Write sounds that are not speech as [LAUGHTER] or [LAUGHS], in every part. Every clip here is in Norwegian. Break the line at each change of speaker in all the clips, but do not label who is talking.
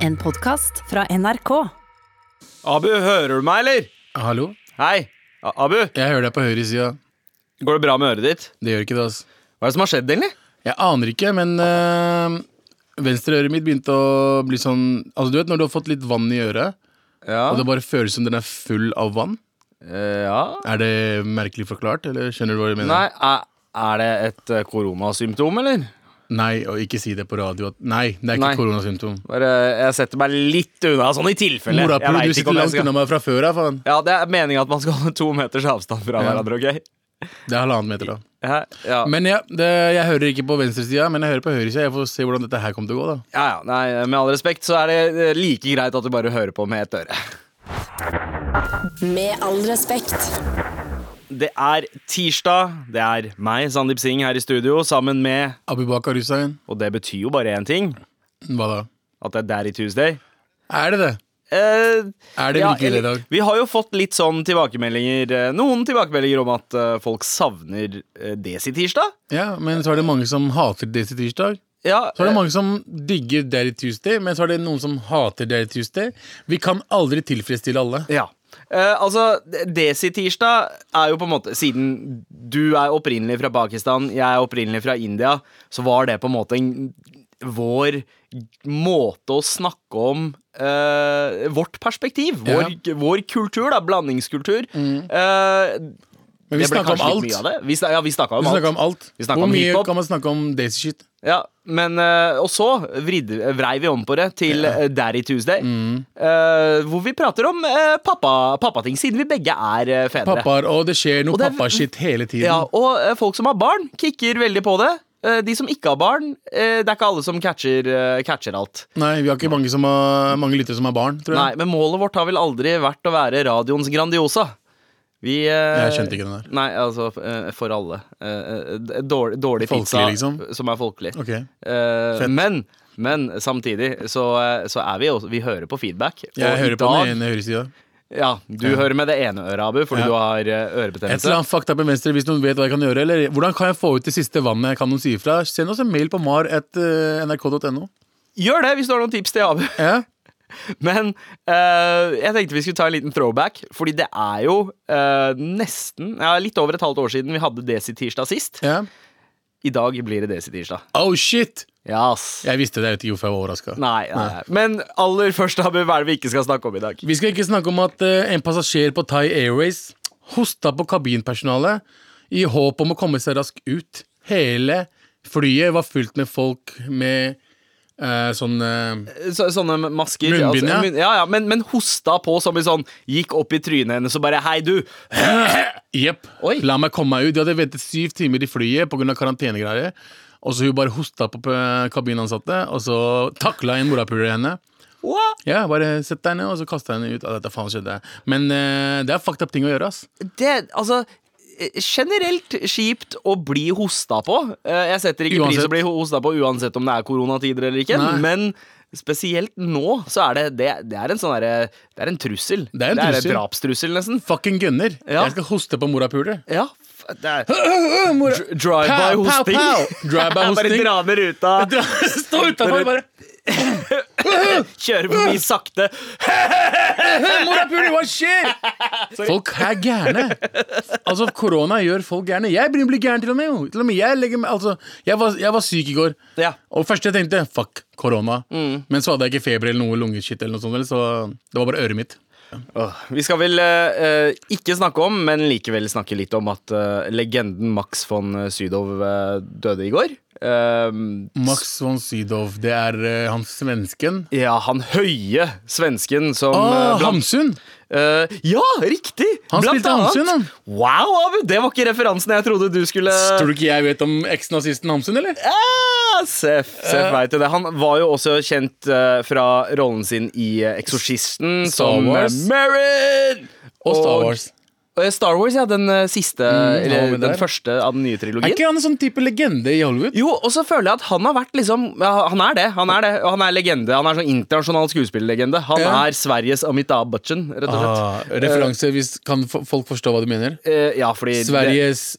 En podkast fra NRK.
Abu, hører du meg, eller?
Hallo?
Hei, A Abu,
Jeg hører deg på høyre sida.
går det bra med øret ditt?
Det gjør ikke det, altså.
Hva er det som har skjedd, egentlig?
Jeg aner ikke, men øh, venstre øret mitt begynte å bli sånn Altså, du vet når du har fått litt vann i øret,
Ja,
og det bare føles som den er full av vann?
Eh, ja.
Er det merkelig forklart, eller skjønner du hva jeg mener?
Nei, er, er det et eh, koronasymptom, eller?
Nei, og ikke si det på radio. At, nei, det er
Nei.
ikke koronasymptom.
Bare, jeg setter meg litt unna, sånn i tilfelle. Jeg vet
Morapuler, du
ikke om
sitter
jeg
langt
skal-
unna meg fra før av, faen.
Ja, det er meningen at man skal holde to meters avstand fra
Ja.
hverandre, ok?
Det er halvannen meter, da.
Ja, ja.
Men ja, det, jeg hører ikke på venstresida, men jeg hører på høyresida. Jeg får se hvordan dette her kommer til å gå, da.
ja, ja. Nei, med all respekt så er det eh, like greit at du bare hører på med et øre.
Med all respekt.
Det er tirsdag, det er meg, Sandeep Singh, her i studio, sammen med,
Abubakar Hussein,
og det betyr jo bare én ting,
hva da?
at det er Daddy Tuesday.
Er det det?
Eh,
Er det
Ja,
virkelig det i
eller-
dag?
Vi har jo fått litt sånn tilbakemeldinger eh, Noen tilbakemeldinger om at eh, folk savner eh, Desi-tirsdag.
Ja, men så er det mange som hater Daisy Tirsdag.
Ja,
Så er
eh,
det mange som digger Dairy Tuesday, men så er det noen som hater Dairy Tuesday. Vi kan aldri tilfredsstille alle.
ja. Eh, altså, d- Desi-tirsdag er jo på en måte Siden du er opprinnelig fra Pakistan, jeg er opprinnelig fra India, så var det på en måte en, vår måte å snakke om eh, vårt perspektiv.
Ja. Mm.
Vår, vår kultur, da. Blandingskultur. Eh, det
Men vi
ble
snakker om
kanskje litt mye
alt.
av det. Vi, sna- ja, vi snakka
Vi
om alt.
snakker om alt.
Vi snakker
Hvor
om
mye
hiphop.
kan man snakke om Daisy shit?
Ja, men eh, Og så vridde, vrei vi om på det til eh, Daddy Tuesday.
Mm.
eh, hvor vi prater om eh, pappa- pappating, siden vi begge er eh, fedre.
Pappaer, og det skjer noe
Og det er-
pappashit hele tiden.
Ja, og eh, folk som har barn, kicker veldig på det. Eh, de som ikke har barn, eh, det er ikke alle som catcher, eh, catcher alt.
Nei, vi har ikke mange, som har, mange lyttere som har barn, tror
Nei,
jeg.
Men målet vårt har vel aldri vært å være radioens Grandiosa. Vi eh,
Jeg skjønte ikke den der.
Nei, altså, eh, for alle. Eh, eh, dårlig dårlig
Folkelig,
pizza
liksom?
som er folkelig.
Ok,
Eh,
Fett.
men, men samtidig så, eh, så er vi også Vi hører på feedback. Og
Jeg
i
hører på
dag-
den ene høyresida.
Ja, du
Ja.
hører med det ene øret, Abu, fordi
Ja.
du har eh,
Et eller
ørebetennelse.
annet fucked up med venstre hvis noen vet hva jeg kan gjøre. Eller hvordan kan jeg få ut det siste vannet jeg kan noen si ifra? Send oss en mail på eh, mar.nrk.no.
Gjør det hvis du har noen tips til Abu. [LAUGHS]
Ja.
Men eh, jeg tenkte vi skulle ta en liten throwback, fordi det er jo eh, nesten ja, Litt over et halvt år siden vi hadde Desi-tirsdag sist.
ja.
I dag blir det Desi-tirsdag.
Oh shit!
Yes.
Jeg visste det, jeg vet ikke hvorfor jeg var overraska.
Nei, nei, nei. Men aller først, Abu, hva er det vi ikke skal snakke om i dag?
Vi skal ikke snakke om at eh, en passasjer på Thai Airways hosta på kabinpersonalet i håp om å komme seg raskt ut. Hele flyet var fylt med folk med eh, sånn eh,
så, sånne masker.
Munnbind, ja.
munn- ja, ja men, men hosta på som i sånn Gikk opp i trynet hennes og bare Hei, du!
Jepp,
Oi.
la meg komme meg ut. De hadde ventet syv timer i flyet pga. karantenegreier. Og så hun bare hosta på eh, kabinansatte, og så takla en morapuler henne.
Hva?
Ja, bare sett deg ned, og så kasta henne ut. Ah, dette faen skjedde. Men eh, det er fucked up ting å gjøre, ass.
Det, altså eh, Generelt kjipt å bli hosta på. Eh, Jeg setter ikke pris
Uansett.
å bli ho- hosta på uansett om det er koronatider eller ikke,
Nei.
men Spesielt nå, så er det Det, det er en sånn derre Det er en trussel.
Det er en trussel.
en drapstrussel, nesten.
Fucking gunner.
Ja.
Jeg skal hoste på morapuler.
Ja. f- Det er
[LAUGHS]
Dr- Drive-by-hosting. [LAUGHS]
Pow, pow, pow. [LAUGHS]
Bare
Drive-by-hosting.
dra ned
[LAUGHS]
ruta,
Stå utafor, bare.
kjøre forbi sakte.
"Eh, Morapuler, hva [LAUGHS] skjer? Folk er gærne. Altså, korona gjør folk gærne. Jeg begynner å bli gæren til og med. jo. Til og med jeg, legger, meg- altså, jeg, var, jeg var syk i går.
Ja.
Og først jeg tenkte fuck, korona. Men så hadde jeg ikke feber eller noe lungeshit, eller noe sånt, eller, så det var bare øret mitt.
Åh, Vi skal vel eh, eh, ikke snakke om, men likevel snakke litt om at eh, legenden Max von Sydow eh, døde i går. Eh,
Max von Sydow, det er eh, han svensken.
ja, han høye svensken som
Ah,
eh, blant-
Hamsun!
Eh, Ja, riktig!
Han spilte Hamsun, han.
Wow, Abu! Det var ikke referansen jeg trodde du skulle
Tror du ikke jeg vet om eksnazisten Hamsun, eller?
Ah, Seff
Eh.
uh, veit jo det. Han var jo også kjent eh, fra rollen sin i eh, Eksorsisten
Star
som eh,
Wars.
Merrin!
Og Star Wars.
Eh, Star Wars, ja. Den eh, siste,
Mm, han var
eller
med
den
der.
første av den nye
Er
trilogien.
ikke han en sånn type legende i Hollywood?
Jo, og så føler jeg at han har vært liksom ja, Han er det. Han er det, og han er legende. Han er sånn internasjonal skuespillerlegende. Han
Ja.
er Sveriges Amitabh Bachchan, rett og slett.
Ah, referanse, hvis kan fo- folk forstå hva du mener?
Eh, ja, fordi det-
Sveriges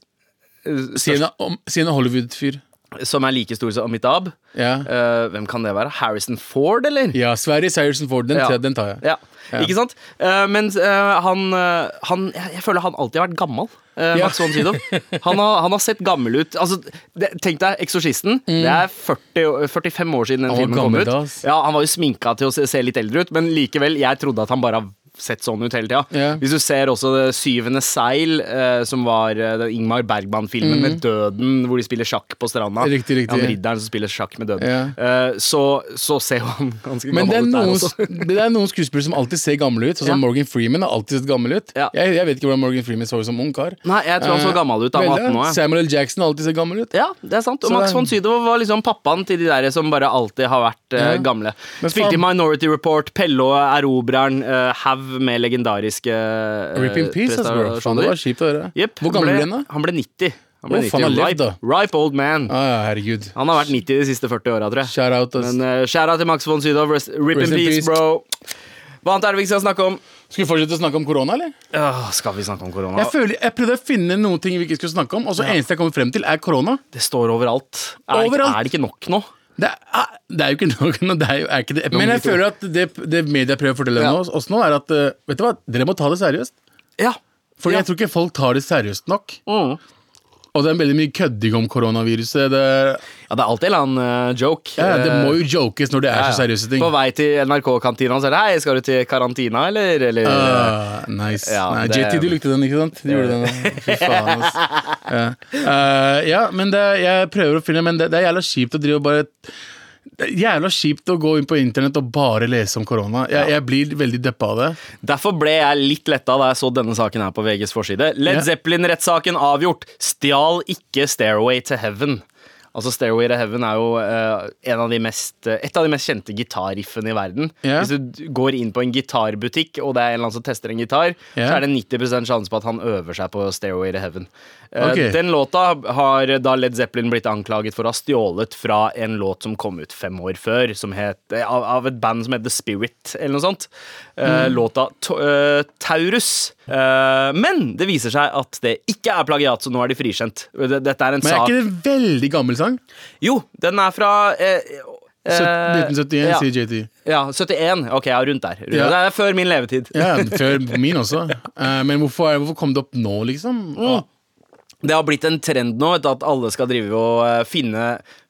eh, størst-
Siden Hollywood-fyr.
som er like stor som Amitabh.
Ja.
Eh, hvem kan det være? Harrison Ford, eller?
Ja, Sverige Sarison Ford, den,
Ja.
den tar jeg.
Ja. Ikke sant? Eh, men eh, han, eh, han jeg, jeg føler han alltid har vært gammel. eh,
Ja.
Max von Sydow. Han, har- han har sett gammel ut. Altså, det, tenk deg 'Eksorsisten'.
Mm.
Det er 40, år- 45 år siden den
Han var
filmen kom
gammel
ut.
da, ass.
Ja, han var jo sminka til å se, se litt eldre ut, men likevel, jeg trodde at han bare har sett sånn ut hele tida.
Ja.
Hvis du ser også det 'Syvende seil', eh, som var eh, den Ingmar Bergman-filmen med døden, hvor de spiller sjakk på stranda.
Mm. Riktig, riktig.
Han ridderen som spiller sjakk med døden.
Ja.
Eh, så, så ser jo han ganske gammel
Men det er,
ut der
noen,
også.
det er noen skuespillere som alltid ser gamle ut. Sånn
Ja.
som Morgan Freeman har alltid sett gammel ut.
Ja.
Jeg, jeg vet ikke hvordan Morgan Freeman så ut som ung kar.
Nei, jeg tror han så
Eh,
gammel ut. Han var
veldig.
18 år. Ja.
Samuel L. Jackson har alltid sett gammel ut.
Ja, det er sant. Og
Så
Max
det-
von Sydow var liksom pappaen til de der som bare alltid har vært eh,
Ja.
gamle.
Men
Spilte i
faen-
Minority Report, Pelle og Erobreren, eh, haug med legendariske eh, sånn
Rip in peace, ass, bro. Faen, det var
prestasjoner.
kjipt å høre.
Jepp,
Hvor gammel
ble-
ble han, da?
Han ble 90. Han ble
Å,
90.
faen, han har levd,
Ripe,
da.
ripe old man.
Ah, ja, herregud.
Han har vært 90 de siste 40 åra, tror jeg.
Shout out, ass.
Men uh, skjæra til Max von Sydow. Rest, rip
Rest
in
in
peace,
peace.
bro. Hva annet er det vi skal snakke om?
Skal vi fortsette å snakke om korona, eller?
Åh, skal vi snakke om korona?
Jeg, føler, jeg prøvde å finne noen ting vi ikke skulle snakke om, og så eneste jeg kommer frem til, er korona.
Det står overalt. Er, det ikke-
Overalt.
er det ikke nok nå?
Det er, ah, det er jo ikke [LAUGHS] noe nå, det er jo, er ikke det. Men jeg føler at det, det media prøver å fortelle
Ja.
oss, oss nå, er at eh, Vet du hva, dere må ta det seriøst.
Ja.
For
Ja.
jeg tror ikke folk tar det seriøst nok.
Mm.
Og det er veldig mye kødding om koronaviruset. Det, er-
Ja, det er alltid en eller annen eh, joke.
ja, det
Eh,
må jo jokes når det er
ja, ja.
så seriøse ting.
På vei til NRK-kantina så er det Hei, skal du til karantina, eller? eller eh,
Ah, nice.
Ja,
Nei,
det-
JT, du likte den, ikke sant? Du gjorde [LAUGHS] den. Fy faen, ass. Ja, Eh, ja men det, jeg prøver å finne Men det, det er jævla kjipt å drive og bare det er Jævla kjipt å gå inn på internett og bare lese om korona. Jeg, jeg blir veldig deppa av det.
Derfor ble jeg litt letta da jeg så denne saken her på VGs forside. Led
Ja.
Zeppelin-rettssaken avgjort. Stjal ikke Stairway to Heaven. Altså Stairway to Heaven er jo eh, en av de mest, eh, et av de mest kjente gitarriffene i verden.
Ja.
Hvis du d- går inn på en gitarbutikk, og det er en eller annen som tester en gitar,
Ja.
så er det 90 sjanse på at han øver seg på Stairway to Heaven. Eh,
Ok.
Den låta har da Led Zeppelin blitt anklaget for å ha stjålet fra en låt som kom ut fem år før, som het, eh, av, av et band som het The Spirit, eller noe sånt. Eh,
Mm.
Låta to, eh, Taurus. Eh, men det viser seg at det ikke er plagiat, så nå er de frikjent. Det- Dette er en
Men er
sak
ikke det en veldig gammel sang?
Jo, den er fra eh, eh,
Søt- 1971,
ja,
sier JT.
Ja, 71. Ok, ja, rundt der. Rundt,
Ja.
Det er før min levetid.
Ja, før min også. Eh, men hvorfor, er- hvorfor kom det opp nå, liksom?
Mm,
Å,
Det har blitt en trend nå vet du, at alle skal drive og eh, finne,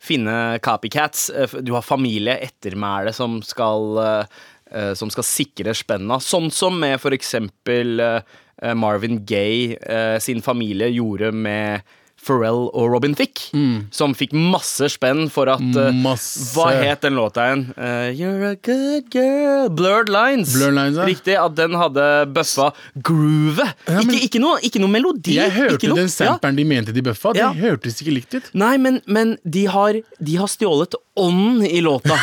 finne copycats. Eh, f- Du har familie, ettermæle, som skal, eh, eh, som skal sikre spenna. Sånn som med for eksempel eh, eh, Marvin Gaye eh, sin familie gjorde med Pharrell og Robin Thicke, som fikk masse spenn for at eh,
Mm. Masse.
Hva het den låta igjen? Eh, you're a good girl Blurred Lines.
Blurred Lines, ja.
Riktig at den hadde bøffa groovet.
men-
ikke, ikke, noe, ikke noe melodi.
Jeg
ikke
hørte
noe-
den
Ja.
samperen de mente de bøffa. Det
Ja.
hørtes ikke likt ut.
Nei, men, men de, har, de har stjålet ånden i
[LAUGHS]
låta.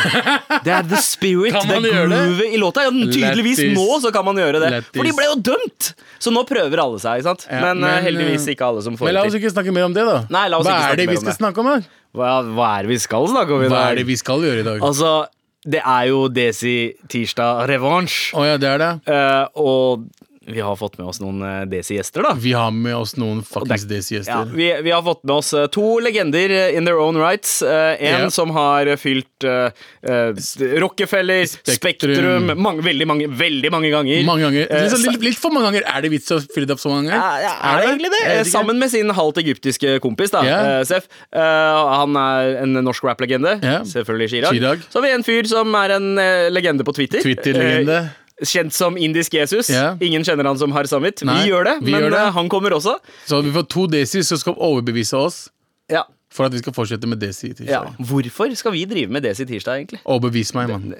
Det er the spirit,
Kan
det
man
er
gjøre det?
groovet i låta. Ja, den- tydeligvis
Lættis.
nå så kan man gjøre det. For de
Lættis.
ble jo dømt! Så nå prøver alle seg, ikke sant?
Ja,
men, eh,
men,
heldigvis
eh,
ikke alle som får
Men la oss
det til.
ikke snakke mer om det, da.
Nei, la oss
Hva
ikke snakke
er det
mer
vi
om
skal
det.
snakke om, da?
Hva, hva er det vi skal snakke om i
Hva er
dag?
det vi skal gjøre i dag? Å
Altså, det er jo Desi Tirsdag Revansj,
ja, det er det.
Eh, og vi har fått med oss noen eh, Desi-gjester, da.
Vi har med oss noen fuckings
Ja,
Desi-gjester.
vi, vi har fått med oss eh, to legender eh, in their own rights. Eh, en
Ja.
som har eh, fylt eh, eh, Rockefeller, Spektrum,
Spektrum.
mange, veldig, mange, veldig mange ganger.
Mange ganger.
Eh,
Litt, sånn-
sa-
litt, litt for mange ganger. Er det vits å fylle det opp så mange
Ja,
ganger?
ja, er det egentlig det?
Jeg vet
Eh,
ikke.
Sammen med sin halvt egyptiske kompis, da,
Ja.
eh, Sef. Eh, han er en norsk rap-legende.
Ja.
Selvfølgelig Chirag.
Chirag.
Så har vi en fyr som er en eh, legende på Twitter.
Twitter-legende.
Eh, Kjent som indisk Jesus.
Ja.
Ingen kjenner han som har samvit. Vi
Nei,
gjør det,
vi
men
gjør det.
eh, han kommer også.
Så vi får to Desi som skal overbevise oss
Ja,
for at vi skal fortsette med Desi. til
ja.
seg.
Hvorfor skal vi drive med Desi tirsdag, egentlig?
Overbevis meg, mann.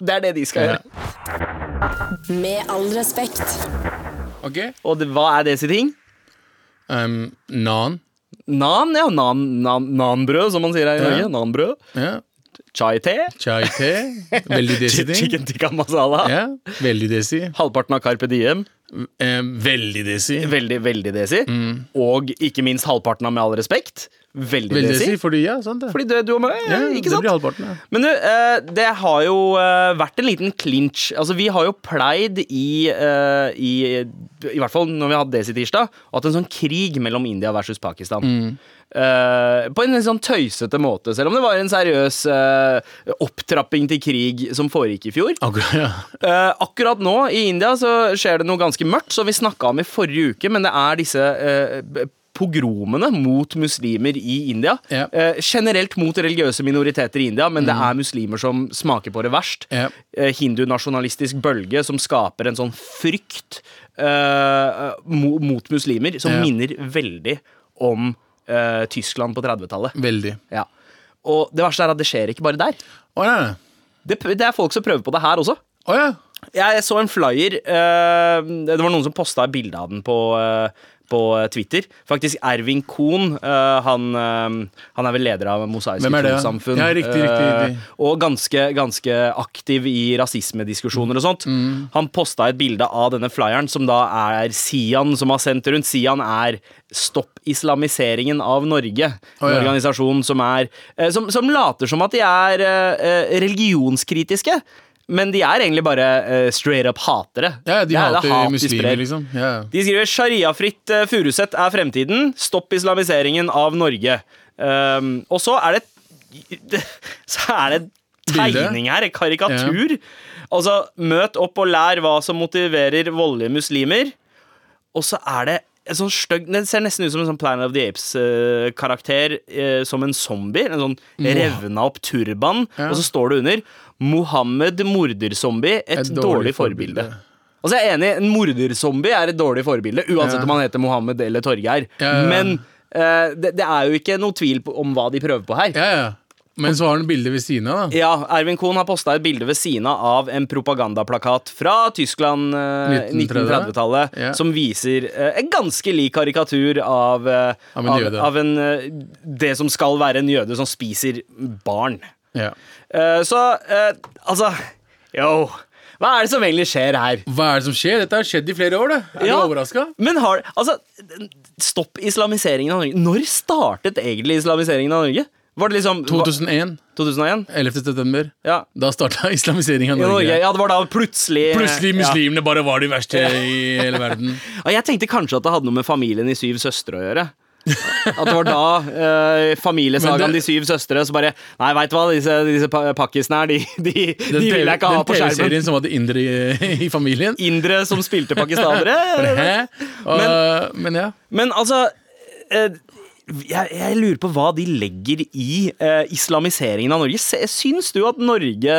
Det er det de skal
Ja.
gjøre.
Med all respekt.
Ok?
Og det, hva er det sin ting?
Um, nan.
Nan, ja. Nan, nan, nanbrød, som man sier her i Norge.
Ja.
Nanbrød.
Ja.
Chai-te.
Chai te. Veldig Desi-ting.
[LAUGHS] Chicken tikka masala.
Ja. Veldig Desi.
Halvparten av Carpe Diem.
Eh, veldig Desi.
Veldig, veldig desi. Og ikke minst halvparten av Med all respekt. Veldig,
Veldig
desi.
Desi, fordi ja, sant det.
Fordi du, du og meg,
ja,
ikke
det
sant?
blir halvparten, ja.
Men du, eh, det har jo eh, vært en liten clinch. Altså, vi har jo pleid i, eh, i I hvert fall når vi har hatt Desi tirsdag, at en sånn krig mellom India versus Pakistan. eh, på en litt sånn tøysete måte, selv om det var en seriøs eh, opptrapping til krig som foregikk i fjor.
Akkurat, ja.
Eh, akkurat nå i India så skjer det noe ganske mørkt, som vi snakka om i forrige uke, men det er disse eh, b- pogromene mot muslimer i India.
Ja. Mm.
Eh, generelt mot religiøse minoriteter i India, men det er muslimer som smaker på det verst.
Ja.
Eh, hindunasjonalistisk bølge som skaper en sånn frykt eh, mo mot muslimer, som
Ja.
minner veldig om eh, Tyskland på 30-tallet.
Veldig.
Ja. Og det verste er at det skjer ikke bare der.
Å ja.
Det, pr- det er folk som prøver på det her også.
Å ja.
Jeg så en flyer. eh, det var noen som posta et bilde av den på, eh, på Twitter. Faktisk Ervin Kohn. eh, han, eh, han er vel leder av Mosaiske
Hvem er det?
trossamfunn.
Ja, riktig, riktig, riktig.
eh, og ganske, ganske aktiv i rasismediskusjoner og sånt.
Mm.
Han posta et bilde av denne flyeren, som da er Sian som har sendt rundt. Sian er Stopp islamiseringen av Norge.
Å,
En
ja.
organisasjon som er eh, som, som later som at de er eh, eh, religionskritiske. Men de er egentlig bare eh, straight up hatere.
ja
Det er-
de
det er
hater
hat de sprer.
muslimer, liksom. Ja.
De skriver 'Shariafritt eh, Furuset er fremtiden. Stopp islamiseringen av Norge'. Ehm, og så er det [LAUGHS] Så er det
Bilde.
tegning her. Karikatur. Altså 'Møt opp og lær hva som motiverer voldelige muslimer'. Og så er det en sånn stygg Det ser nesten ut som en sånn Planet of the Apes-karakter. eh, som en zombie. En sånn revna opp turban.
Ja.
Og så står det under 'Mohammed morderzombie. Et,
Et
dårlig,
dårlig
forbilde'.
forbilde.
Altså jeg er enig, En morderzombie er et dårlig forbilde, uansett
Ja.
om han heter Mohammed eller Torgeir.
Ja, ja, ja.
Men eh, det, det er jo ikke noe tvil på, om hva de prøver på her.
ja, ja. Men så har han bildet ved siden av, da.
Ja, Ervin Kohn har posta et bilde ved siden av en propagandaplakat fra Tyskland eh,
1930-tallet,
1930-tallet,
ja.
som viser eh, en ganske lik karikatur av, eh,
Av en
av,
jøde.
av en, eh, det som skal være en jøde som spiser barn.
Ja.
Eh, så eh, altså Yo, hva er det som egentlig skjer her?
Hva er det som skjer? Dette har skjedd i flere år, det. Er
Ja,
du overraska?
Men har Altså, stopp islamiseringen av Norge. Når startet egentlig islamiseringen av Norge? Var det liksom hva-
2001.
2001?
11. september.
Ja.
Da starta [LAUGHS] islamiseringa av
I Norge.
Norge.
Ja, det var da plutselig
Plutselig muslimene bare var
[LAUGHS]
de verste i hele verden.
Ja. Og Jeg tenkte kanskje at det hadde noe med familien i Syv søstre å gjøre. At det var da eh, familiesagaen
Men
De
det-
syv søstre så bare Nei, veit du hva, disse, disse pa- pakkisene her, de, de, de vil jeg ikke ha
den
på skjermen.
TV-serien som hadde indre i, i familien.
Indere som spilte
[LAUGHS]
pakistanere.
Hæ? Og, men, ja.
Men altså eh, jeg, jeg lurer på hva de legger i eh, islamiseringen av Norge. Se- Syns du at Norge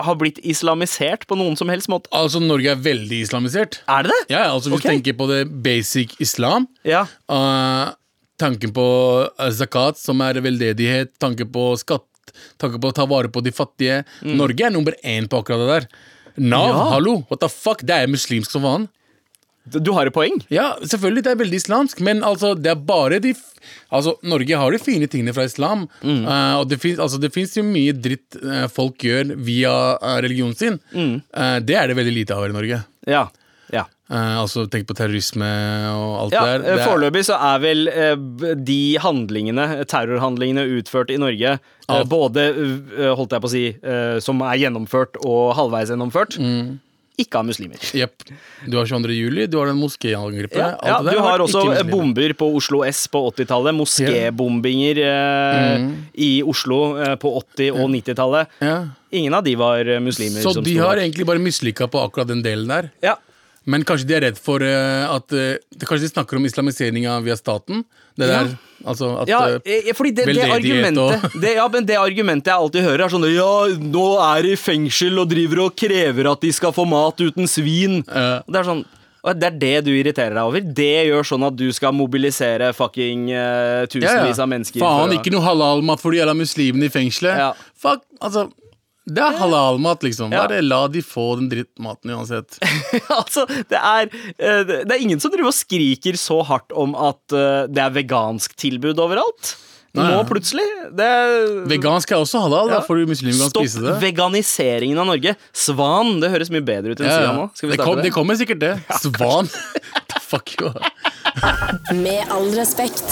har blitt islamisert på noen som helst måte?
Altså, Norge er veldig islamisert.
Er det det?
Ja, ja, altså Hvis
Ok.
du tenker på det basic islam
Ja.
eh, Tanken på eh, zakat, som er veldedighet, tanken på skatt, tanken på å ta vare på de fattige Norge er nummer én på akkurat det der.
Mm.
Nav,
Ja.
hallo! What the fuck? Det er muslimsk som faen.
Du har et poeng.
Ja, selvfølgelig, det er veldig islamsk, men altså, det er bare de f- Altså, Norge har de fine tingene fra islam,
Mm.
eh, og det fins altså, det finnes jo mye dritt eh, folk gjør via eh, religionen sin.
Mm.
Eh, det er det veldig lite av her i Norge.
Ja. ja.
Eh, altså, tenk på terrorisme og alt
Ja,
det der.
eh,
Det er-
Foreløpig så er vel eh, b- de handlingene, terrorhandlingene utført i Norge, eh,
Av-
både eh, holdt jeg på å si, eh, som er gjennomført og halvveis gjennomført,
Mm.
ikke av muslimer.
Jepp. Du har 22. juli, du har den moskéangrepet.
Ja,
alt
ja,
det der
du har
vært
også
ikke muslimer.
bomber på Oslo S på 80-tallet. Moskébombinger eh, i Oslo eh, på 80- og 90-tallet.
Mm. Ja.
Ingen av de var eh, muslimer.
Så
som
de
sto
har
bak.
egentlig bare mislykka på akkurat den delen der.
ja.
Men kanskje de er redd for eh, at eh, Kanskje de snakker om islamiseringa via staten? Det
Ja.
der, altså at
Ja,
eh,
eh, fordi det, det
veldedighet og-
argumentet det, Ja, men det argumentet jeg alltid hører, er sånn Ja, nå er de i fengsel og driver og krever at de skal få mat uten svin.
Ja.
Og Det er sånn og det er det du irriterer deg over? Det gjør sånn at du skal mobilisere fucking eh, tusenvis av mennesker? for
Faen,
å-
ikke noe halalmat for de jævla muslimene i fengselet.
Ja.
Fuck, altså Det er halalmat, liksom.
Ja.
Bare la de få den drittmaten uansett.
[LAUGHS] altså, det er, eh, det det er ingen som driver og skriker så hardt om at eh, det er vegansk tilbud overalt.
Nei.
Nå plutselig. Det er
Vegansk er også halal, da får du muslimer kan
Stopp
spise det.
veganiseringen av Norge. Svan, det høres mye bedre ut enn
Ja,
Sian
ja.
nå. Skal vi
det, kom,
starte
det
det?
kommer sikkert, [LAUGHS] det. Svan. The Fuck you.
Med all respekt.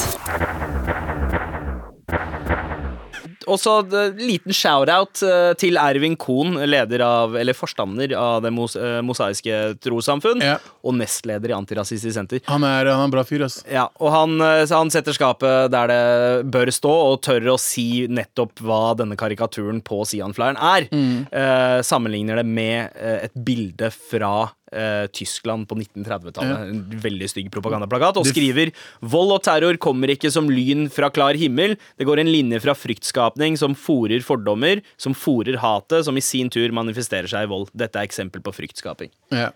også eh, liten shout-out eh, til Ervin Kohn, leder av, eller forstander av Det mos eh, mosaiske trossamfunn,
Ja.
og nestleder i Antirasistisk Senter.
Han er, han er en bra fyr, ass.
Ja, og han, eh, så han setter skapet der det bør stå, og tør å si nettopp hva denne karikaturen på Sian-flyeren er. Eh, sammenligner det med eh, et bilde fra eh, Tyskland på 1930-tallet. En veldig stygg propagandaplakat. Og skriver vold og terror kommer ikke som lyn fra klar himmel. Det går en linje fra fryktskapning som fòrer fordommer, som fòrer hatet, som i sin tur manifesterer seg i vold. Dette er eksempel på fryktskaping.
Ja.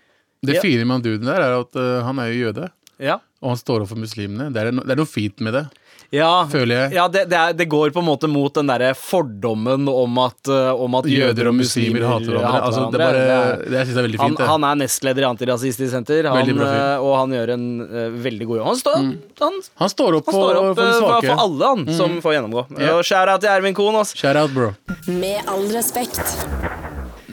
Det
Ja.
fine med han duden der, er at eh, han er jo jøde.
Ja,
Og han står opp for muslimene. Det er, no, det er noe fint med det.
Ja,
Føler jeg.
ja det, det, er, det går på en måte mot den derre fordommen om at, eh, om at
Jøder og muslimer hater hverandre. Altså, det, er
hverandre.
bare,
Det er-
det jeg synes jeg er veldig
han,
fint. det.
han er nestleder i Antirasistisk Senter, han,
Veldig bra fyr. Mm.
eh, og han gjør en eh, veldig god jobb. Han, står- han,
han står opp
han
for,
står opp
for
eh,
de
for,
svake. Mm.
for alle han som får gjennomgå.
Ja.
Og Skjæra til Ervin Kohn. ass.
Shout out, bro.
Med all respekt.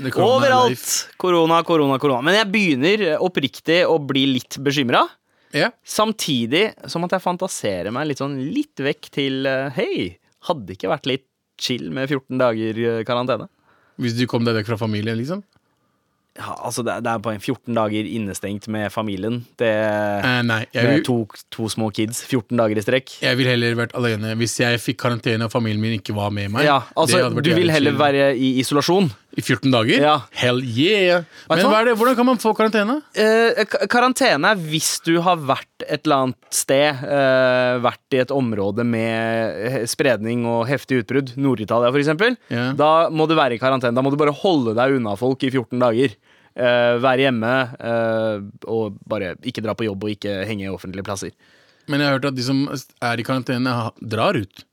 The corona life.
Overalt! Korona, korona, korona. Men jeg begynner eh, oppriktig å bli litt bekymra.
Ja.
Samtidig som at jeg fantaserer meg litt sånn litt vekk til eh, Hei, hadde det ikke vært litt chill med 14 dager eh, karantene?
Hvis du kom deg vekk fra familien, liksom.
Ja, altså det, er- det er på en 14 dager innestengt med familien. Det,
Eh, nei, jeg
med
vil,
to, to små kids. 14 dager i strekk.
jeg vil heller vært alene. Hvis jeg fikk karantene og familien min ikke var med meg.
Ja, altså
det hadde vært
Du vil
jævlig
heller
chill.
være i isolasjon.
I 14 dager?
Ja.
Hell yeah!
Vet du
Men
hva?
hva er det, hvordan kan man få karantene?
Eh, k- karantene er hvis du har vært et eller annet sted, eh, vært i et område med he- spredning og heftig utbrudd, Nord-Italia f.eks.,
Ja.
da må du være i karantene. Da må du bare holde deg unna folk i 14 dager. Eh, være hjemme eh, og bare ikke dra på jobb og ikke henge i offentlige plasser.
Men jeg har hørt at de som er i karantene, ha- drar ut.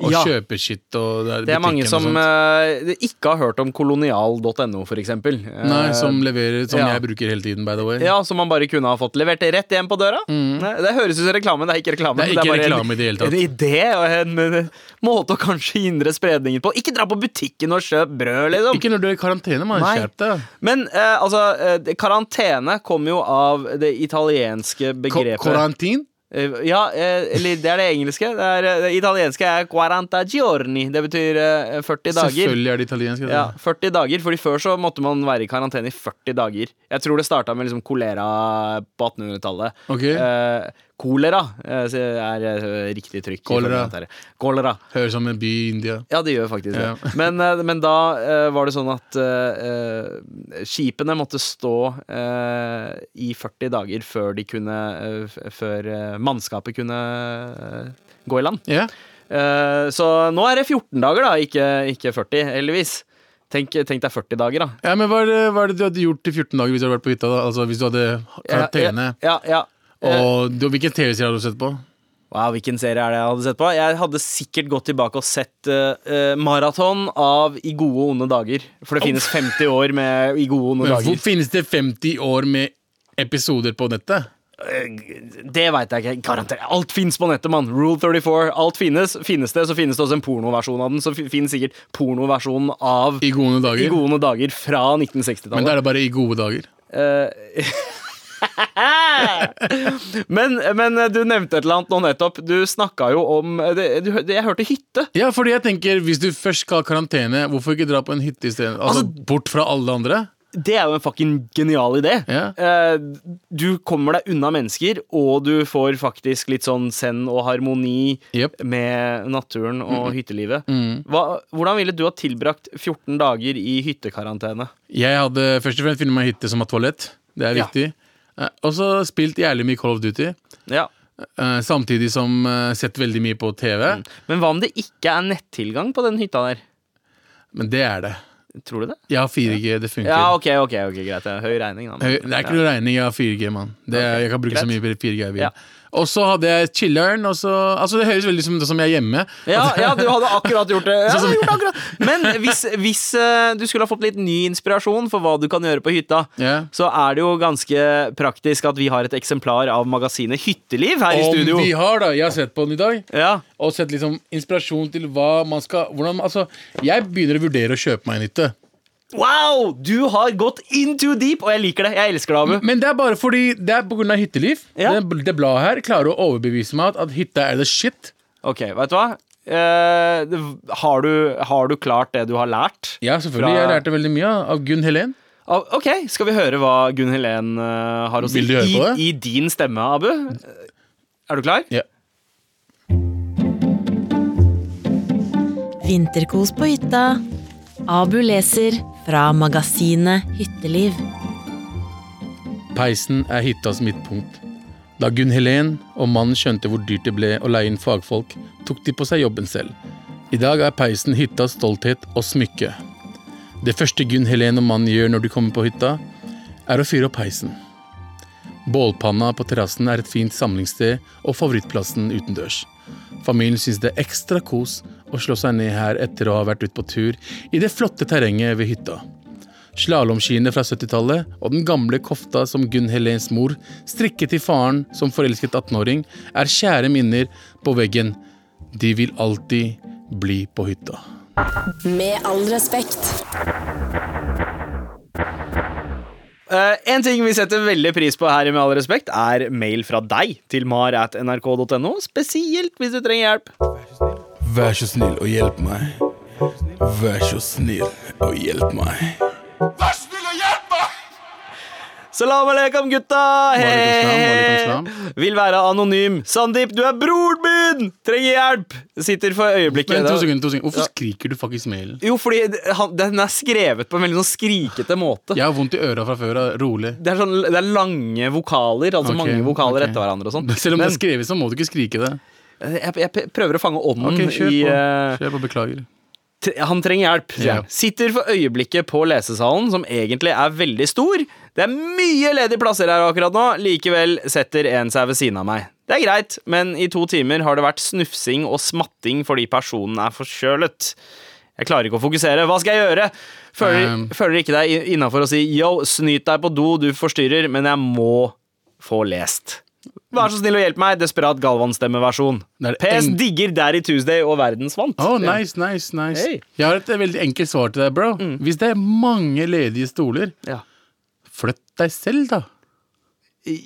Og
Ja.
kjøper shit. Og det, er
Det er mange
butikken og
som
sånt.
eh, ikke har hørt om kolonial.no, f.eks.
Nei,
Eh,
som leverer Som
ja.
jeg bruker hele tiden, by the way.
Ja, som man bare kunne ha fått levert rett hjem på døra. Nei, Det høres ut som reklame, det er ikke reklame.
Mm. Det er
men
ikke
bare en-
reklame i det hele tatt.
En idé og en eh, måte å kanskje hindre spredningen på. Ikke dra på butikken og kjøp brød, liksom.
Ikke når du er i karantene, mann.
Nei.
Skjerp deg.
Men eh, altså, eh, det- karantene kommer jo av det italienske
Ko-
begrepet
Karantin?
Eh, Ja, eh, eller det er det engelske. Det, er, eh, det italienske er 40 giorni. Det betyr eh, 40 dager.
Selvfølgelig er det italiensk.
Ja,
altså.
40 dager, fordi Før så måtte man være i karantene i 40 dager. Jeg tror det starta med liksom kolera på 1800-tallet.
Ok.
Eh, kolera eh, så er eh, riktig trykk. i
Kolera.
kommentaren her. kolera.
Høres ut som en by i India.
Ja, det gjør faktisk det.
Ja.
Men, eh, men da eh, var det sånn at eh, eh, skipene måtte stå eh, i 40 dager før de kunne eh, f- Før eh, mannskapet kunne eh, gå i land.
Ja.
Eh, Så nå er det 14 dager, da, ikke, ikke 40, heldigvis. Tenk, tenk deg 40 dager, da.
ja, men hva er, det, hva er det du hadde gjort i 14 dager hvis du hadde vært på hytta? da? Altså Hvis du hadde karantene?
Ja, ja, ja. Eh,
Og du, hvilken TV-serie hadde du sett på?
Wow, Hvilken serie er det jeg hadde sett på? Jeg hadde sikkert gått tilbake og sett eh, eh, maraton av I gode og onde dager. For det finnes 50 år med I gode og onde
Men hvor
dager.
finnes det 50 år med episoder på nettet?
Eh, Det veit jeg ikke. Garantert. Alt fins på nettet, mann. Rule 34. Alt finnes. Finnes det, så finnes det også en pornoversjon av den. Så fi- finnes sikkert pornoversjonen av
I gode
I
dager?
gode og onde dager fra
Men
1960-tallet.
da er det bare i gode dager.
Eh, [LAUGHS] men, men du nevnte et eller annet nå nettopp. Du snakka jo om eh, det, du, det, Jeg hørte hytte.
Ja, fordi jeg tenker, hvis du først skal ha karantene, hvorfor ikke dra på en hytte isteden? Altså,
Altså-
bort fra alle andre?
Det er jo en fucking genial idé.
Ja.
Eh, du kommer deg unna mennesker, og du får faktisk litt sånn send og harmoni
Jep.
med naturen og
Mm.
hyttelivet. Hva, hvordan ville du ha tilbrakt 14 dager i hyttekarantene?
Jeg hadde først og fremst funnet meg en hytte som har toalett. Det er
Ja.
viktig. Eh, Og så spilt jævlig mye Call of Duty,
Ja.
eh, samtidig som eh, sett veldig mye på TV.
Men hva om det ikke er nettilgang på den hytta der?
Men det er det.
Tror du det?
Jeg har 4G, det funker.
Ja, ok, ok, ok, greit. Det er Høy regning, da. men-
Høy- Det er ikke noe regning, jeg har 4G, mann. Det er- Jeg kan bruke så
greit.
mye 4G jeg vil.
Ja.
Og så hadde jeg chiller'n, og så Altså, det høres veldig ut som, som jeg er hjemme.
Ja, ja, du hadde akkurat gjort
[LAUGHS]
det. Ja, jeg
Sånn
hadde gjort det akkurat. Men hvis, hvis eh, du skulle ha fått litt ny inspirasjon for hva du kan gjøre på hytta,
Ja.
så er det jo ganske praktisk at vi har et eksemplar av magasinet Hytteliv her i
Om
studio.
vi har, da. Jeg har sett på den i dag.
Ja,
Og sett liksom inspirasjon til hva man skal hvordan, altså, Jeg begynner å vurdere å kjøpe meg en hytte.
Wow! Du har gått in too deep, og jeg liker det. Jeg elsker det, Abu.
Men det er bare fordi det er pga. hytteliv.
Ja.
Det, det bladet her klarer å overbevise meg at, at hytta er the shit.
Ok, vet du hva? eh, det- har, du, har du klart det du har lært?
Ja, selvfølgelig.
Fra-
Jeg lærte veldig mye av- av Gunn Helen.
Ah, Ok, skal vi høre hva Gunn Helen eh, har å si
Vil du høre
i,
på det?
i din stemme, Abu? Eh, Er du klar?
Ja.
Vinterkos på hytta. Abu leser fra magasinet Hytteliv.
Peisen er hyttas midtpunkt. Da Gunn Helen og mannen skjønte hvor dyrt det ble å leie inn fagfolk, tok de på seg jobben selv. I dag er peisen hyttas stolthet og smykke. Det første Gunn Helen og mannen gjør når de kommer på hytta, er å fyre opp peisen. Bålpanna på terrassen er et fint samlingssted og favorittplassen utendørs. Familien syns det er ekstra kos å slå seg ned her etter å ha vært ute på tur i det flotte terrenget ved hytta. Slalåmskiene fra 70-tallet og den gamle kofta som Gunn Helens mor strikket til faren som forelsket 18-åring, er kjære minner på veggen. De vil alltid bli på hytta.
Med all respekt.
Eh, en ting vi setter veldig pris på her i Med all respekt, er mail fra deg til mar at nrk.no, spesielt hvis du trenger hjelp.
Vær så snill og hjelp meg. Vær så snill og hjelp meg.
Salam aleikum, gutta!
Walaikum salam, walaikum
Vil være anonym. Sandeep, du er broren min! Trenger hjelp! Sitter for øyeblikket
Vent to sekunder, to sekunder. Hvorfor skriker du faktisk mailen?
Jo, fordi det- han, den er skrevet på en veldig sånn skrikete måte.
Jeg har vondt i øra fra før av. Rolig.
Det, er sånn, det er lange vokaler, altså
Ok,
mange vokaler
ok.
etter hverandre og sånn.
Selv om det
Men eh,
er skrevet, så må du ikke skrike det.
jeg, jeg prøver å fange ånden
Ok, Kjør
i
på.
eh,
Kjør på, Beklager.
tre- Han trenger hjelp. sier
Ja.
jeg. Sitter for øyeblikket på lesesalen, som egentlig er veldig stor. Det er mye ledige plasser her akkurat nå, likevel setter en seg ved siden av meg. Det er greit, men i to timer har det vært snufsing og smatting fordi personen er forkjølet. Jeg klarer ikke å fokusere. Hva skal jeg gjøre? Føler,
Um.
føler ikke deg innafor å si yo, snyt deg på do, du forstyrrer, men jeg må få lest. Vær så stemmer hjelp meg. Desperat Galvan-stemmeversjon.
Det er det
PS
eng-
digger Daddy Tuesday og verdensvant.
Oh, nice, nice, nice
Hey. Mm.
Jeg har et veldig enkelt svar til deg, bro. Hvis det er mange ledige stoler,
Ja.
flytt deg selv, da.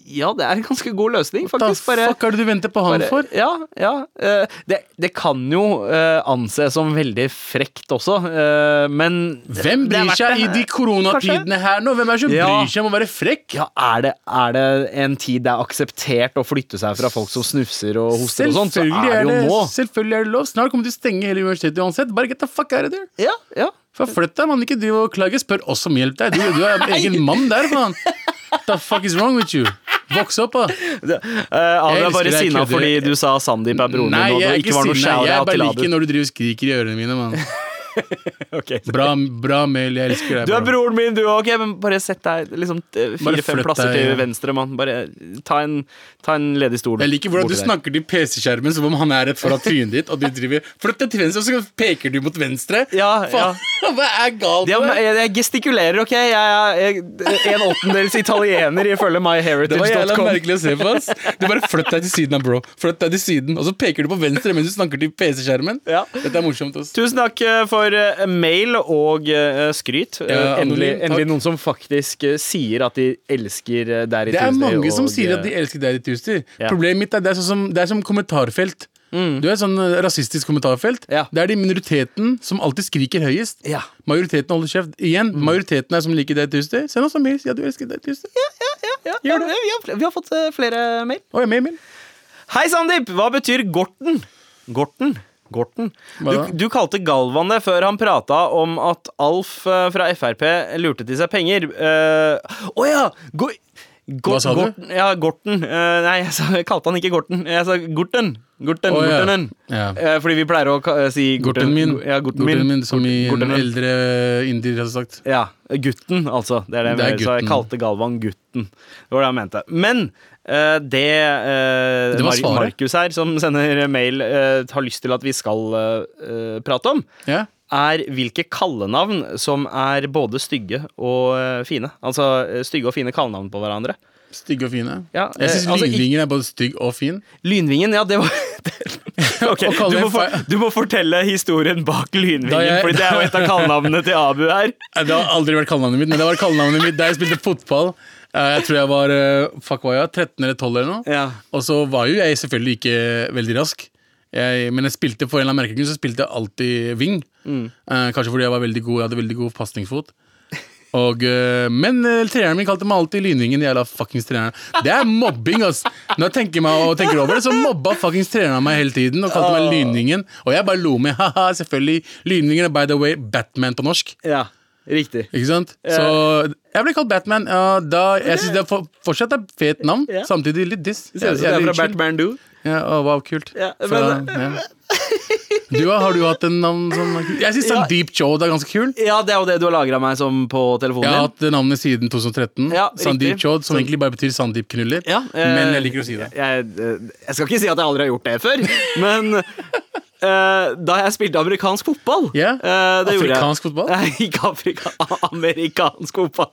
Ja, det er en ganske god løsning,
Da
faktisk. Bare,
fuck er det du venter på han
bare,
for?
ja, ja. eh, Det, det kan jo eh, anses som veldig frekt også, eh, men
Hvem
det er
bryr
verdt
seg i
det.
de koronatidene her nå? Hvem er det som
Ja.
bryr seg om å være frekk?
ja, er det, er det en tid det er akseptert å flytte seg fra folk som snufser og hoster og sånn, så
Selvfølgelig
er det jo nå.
selvfølgelig er det lov. Snart kommer de til å stenge hele universitetet uansett. Bare get the fuck out of there.
Ja, ja.
For flytt deg, mann. Ikke driv og klage. Spør oss om hjelp der. Du, du
[LAUGHS]
er en egen mann der, faen. The fuck is wrong with you? Voks opp, da.
Det, eh, Adrian er bare
Jeg elsker deg,
sinna
kødder.
fordi du sa Sandeep er broren
Nei,
din, og
jeg
det
er
ikke
ikke
var noe
sinna. Jeg
shout-out
bare
til Abu.
liker når du driver og skriker i ørene mine, mann.
[LAUGHS] Ok, så-
Bra, bra mail, jeg elsker deg.
Du er
bro.
broren min, du òg. Ok, men bare sett deg liksom
Bare
fire-fem
flytt
plasser
deg,
til
ja.
venstre, mann. Bare ta en, ta en ledig stol.
Jeg liker hvordan
borti
du
der.
snakker til PC-skjermen som om han er rett foran trynet ditt, og du driver Flytt deg til venstre, og så peker du mot venstre.
Ja, ja.
Faen, [LAUGHS] Hva er galt
Det er-
med deg?
jeg, jeg gestikulerer, OK? Jeg er jeg, en åttendels italiener ifølge
Det var jævla
myheritage.com.
merkelig å se på. ass Du bare flytt deg til siden, da, bro. Flytt deg til siden, Og så peker du på venstre mens du snakker til PC-skjermen.
Ja.
Dette er morsomt. ass
Tusen takk eh, for eh, mail og eh, skryt. Eh,
Ja,
endelig,
anonym, takk.
endelig noen som faktisk eh, sier at de elsker eh, Daddy
Det er
Tuesday.
mange som
og,
sier
eh,
at de elsker deg i Tuesday.
Ja.
Problemet mitt er det er sånn som, det er som kommentarfelt. Du er sånn eh, rasistisk kommentarfelt.
Mm. Ja.
Det er de minoriteten som alltid skriker høyest.
Ja.
Majoriteten holder kjeft. Igjen, majoriteten er som liker deg i Tuesday. Send oss en mail. Ja, du elsker deg i Tuesday. Å,
ja, ja, vi, har, vi har fått eh, flere mail.
ja, mail, mail.
Hei, Sandeep! Hva betyr Gorten? Gorten? Gorten.
Hva
Du,
da?
du kalte Galvan det før han prata om at Alf eh, fra Frp lurte til seg penger. Eh, Å ja! Go Gort-
Hva sa du?
Gorten, ja, Gorten. Eh, nei, jeg, sa, jeg kalte han ikke Gorten. Jeg sa Gorten. Gorten,
Å, ja.
Gortenen.
Ja.
Eh, fordi vi pleier å ka- eh, si
Gorten min.
Ja, Gorten min.
som i en
Gortenen.
eldre indier hadde sagt.
Ja, Gutten, altså. Det er det,
Det
Så
er
jeg
gutten.
kalte Galvan Gutten. Det var det han mente. Men eh, det, eh,
Det var
Mar-
svaret.
Markus her, som sender mail, eh, har lyst til at vi skal eh, eh, prate om,
Ja.
er hvilke kallenavn som er både stygge og eh, fine. Altså eh, stygge og fine kallenavn på hverandre.
Stygge og fine.
Ja,
jeg
eh,
syns
altså, i-
Lyngvinger er både stygg og fin.
Lynvingen, ja, det var [LAUGHS] Ok,
Og kalle
du må,
en
for,
fe-
du må fortelle historien bak Lynvingen,
Da jeg-
Fordi det er jo et av kallenavnene til Abu her.
Nei, Eh, Det har aldri vært kallenavnet mitt, men det var kallenavnet mitt da jeg spilte fotball. Eh, Jeg tror jeg var eh, fuck hva var jeg, 13 eller 12 eller noe.
Ja.
Og så var jo jeg selvfølgelig ikke veldig rask. Jeg, men jeg spilte for en eller annen merkelig grunn, så spilte jeg alltid wing.
Mm.
Eh, kanskje fordi jeg var veldig god, jeg hadde veldig god pasningsfot. Og, eh, men eh, treneren min kalte meg alltid lynvingen. Jævla fuckings treneren. Det er mobbing, ass! Når jeg tenker meg og tenker over det, så mobba fuckings treneren meg hele tiden og kalte meg lynvingen. Og jeg bare lo med. Haha, selvfølgelig. Lynvingen er by the way Batman på norsk.
Ja, riktig.
Ikke sant? Så jeg ble kalt Batman. Ja, da, jeg syns det er for, fortsatt er fet navn.
Ja.
Samtidig litt diss.
Ser ut som det
Jævlig
er fra
chill.
Batman Do.
Ja, å, wow, kult.
Ja,
Fra, ja. Du, da, har du hatt en navn som Jeg syns
Ja.
Sandeep Chod er ganske kul.
Ja, det er jo det du har lagra meg som på telefonen
Jeg har
din.
hatt det navnet siden 2013.
Ja,
Sandeep
riktig.
Chod, som egentlig bare betyr Sandeep knuller.
Ja, eh,
men jeg liker å si det.
Jeg, eh, jeg skal ikke si at jeg aldri har gjort det før, [LAUGHS] men eh, da jeg spilte amerikansk fotball
Ja.
eh, det gjorde jeg.
Afrikansk fotball?
Nei, ikke Afrika, [LAUGHS] amerikansk fotball.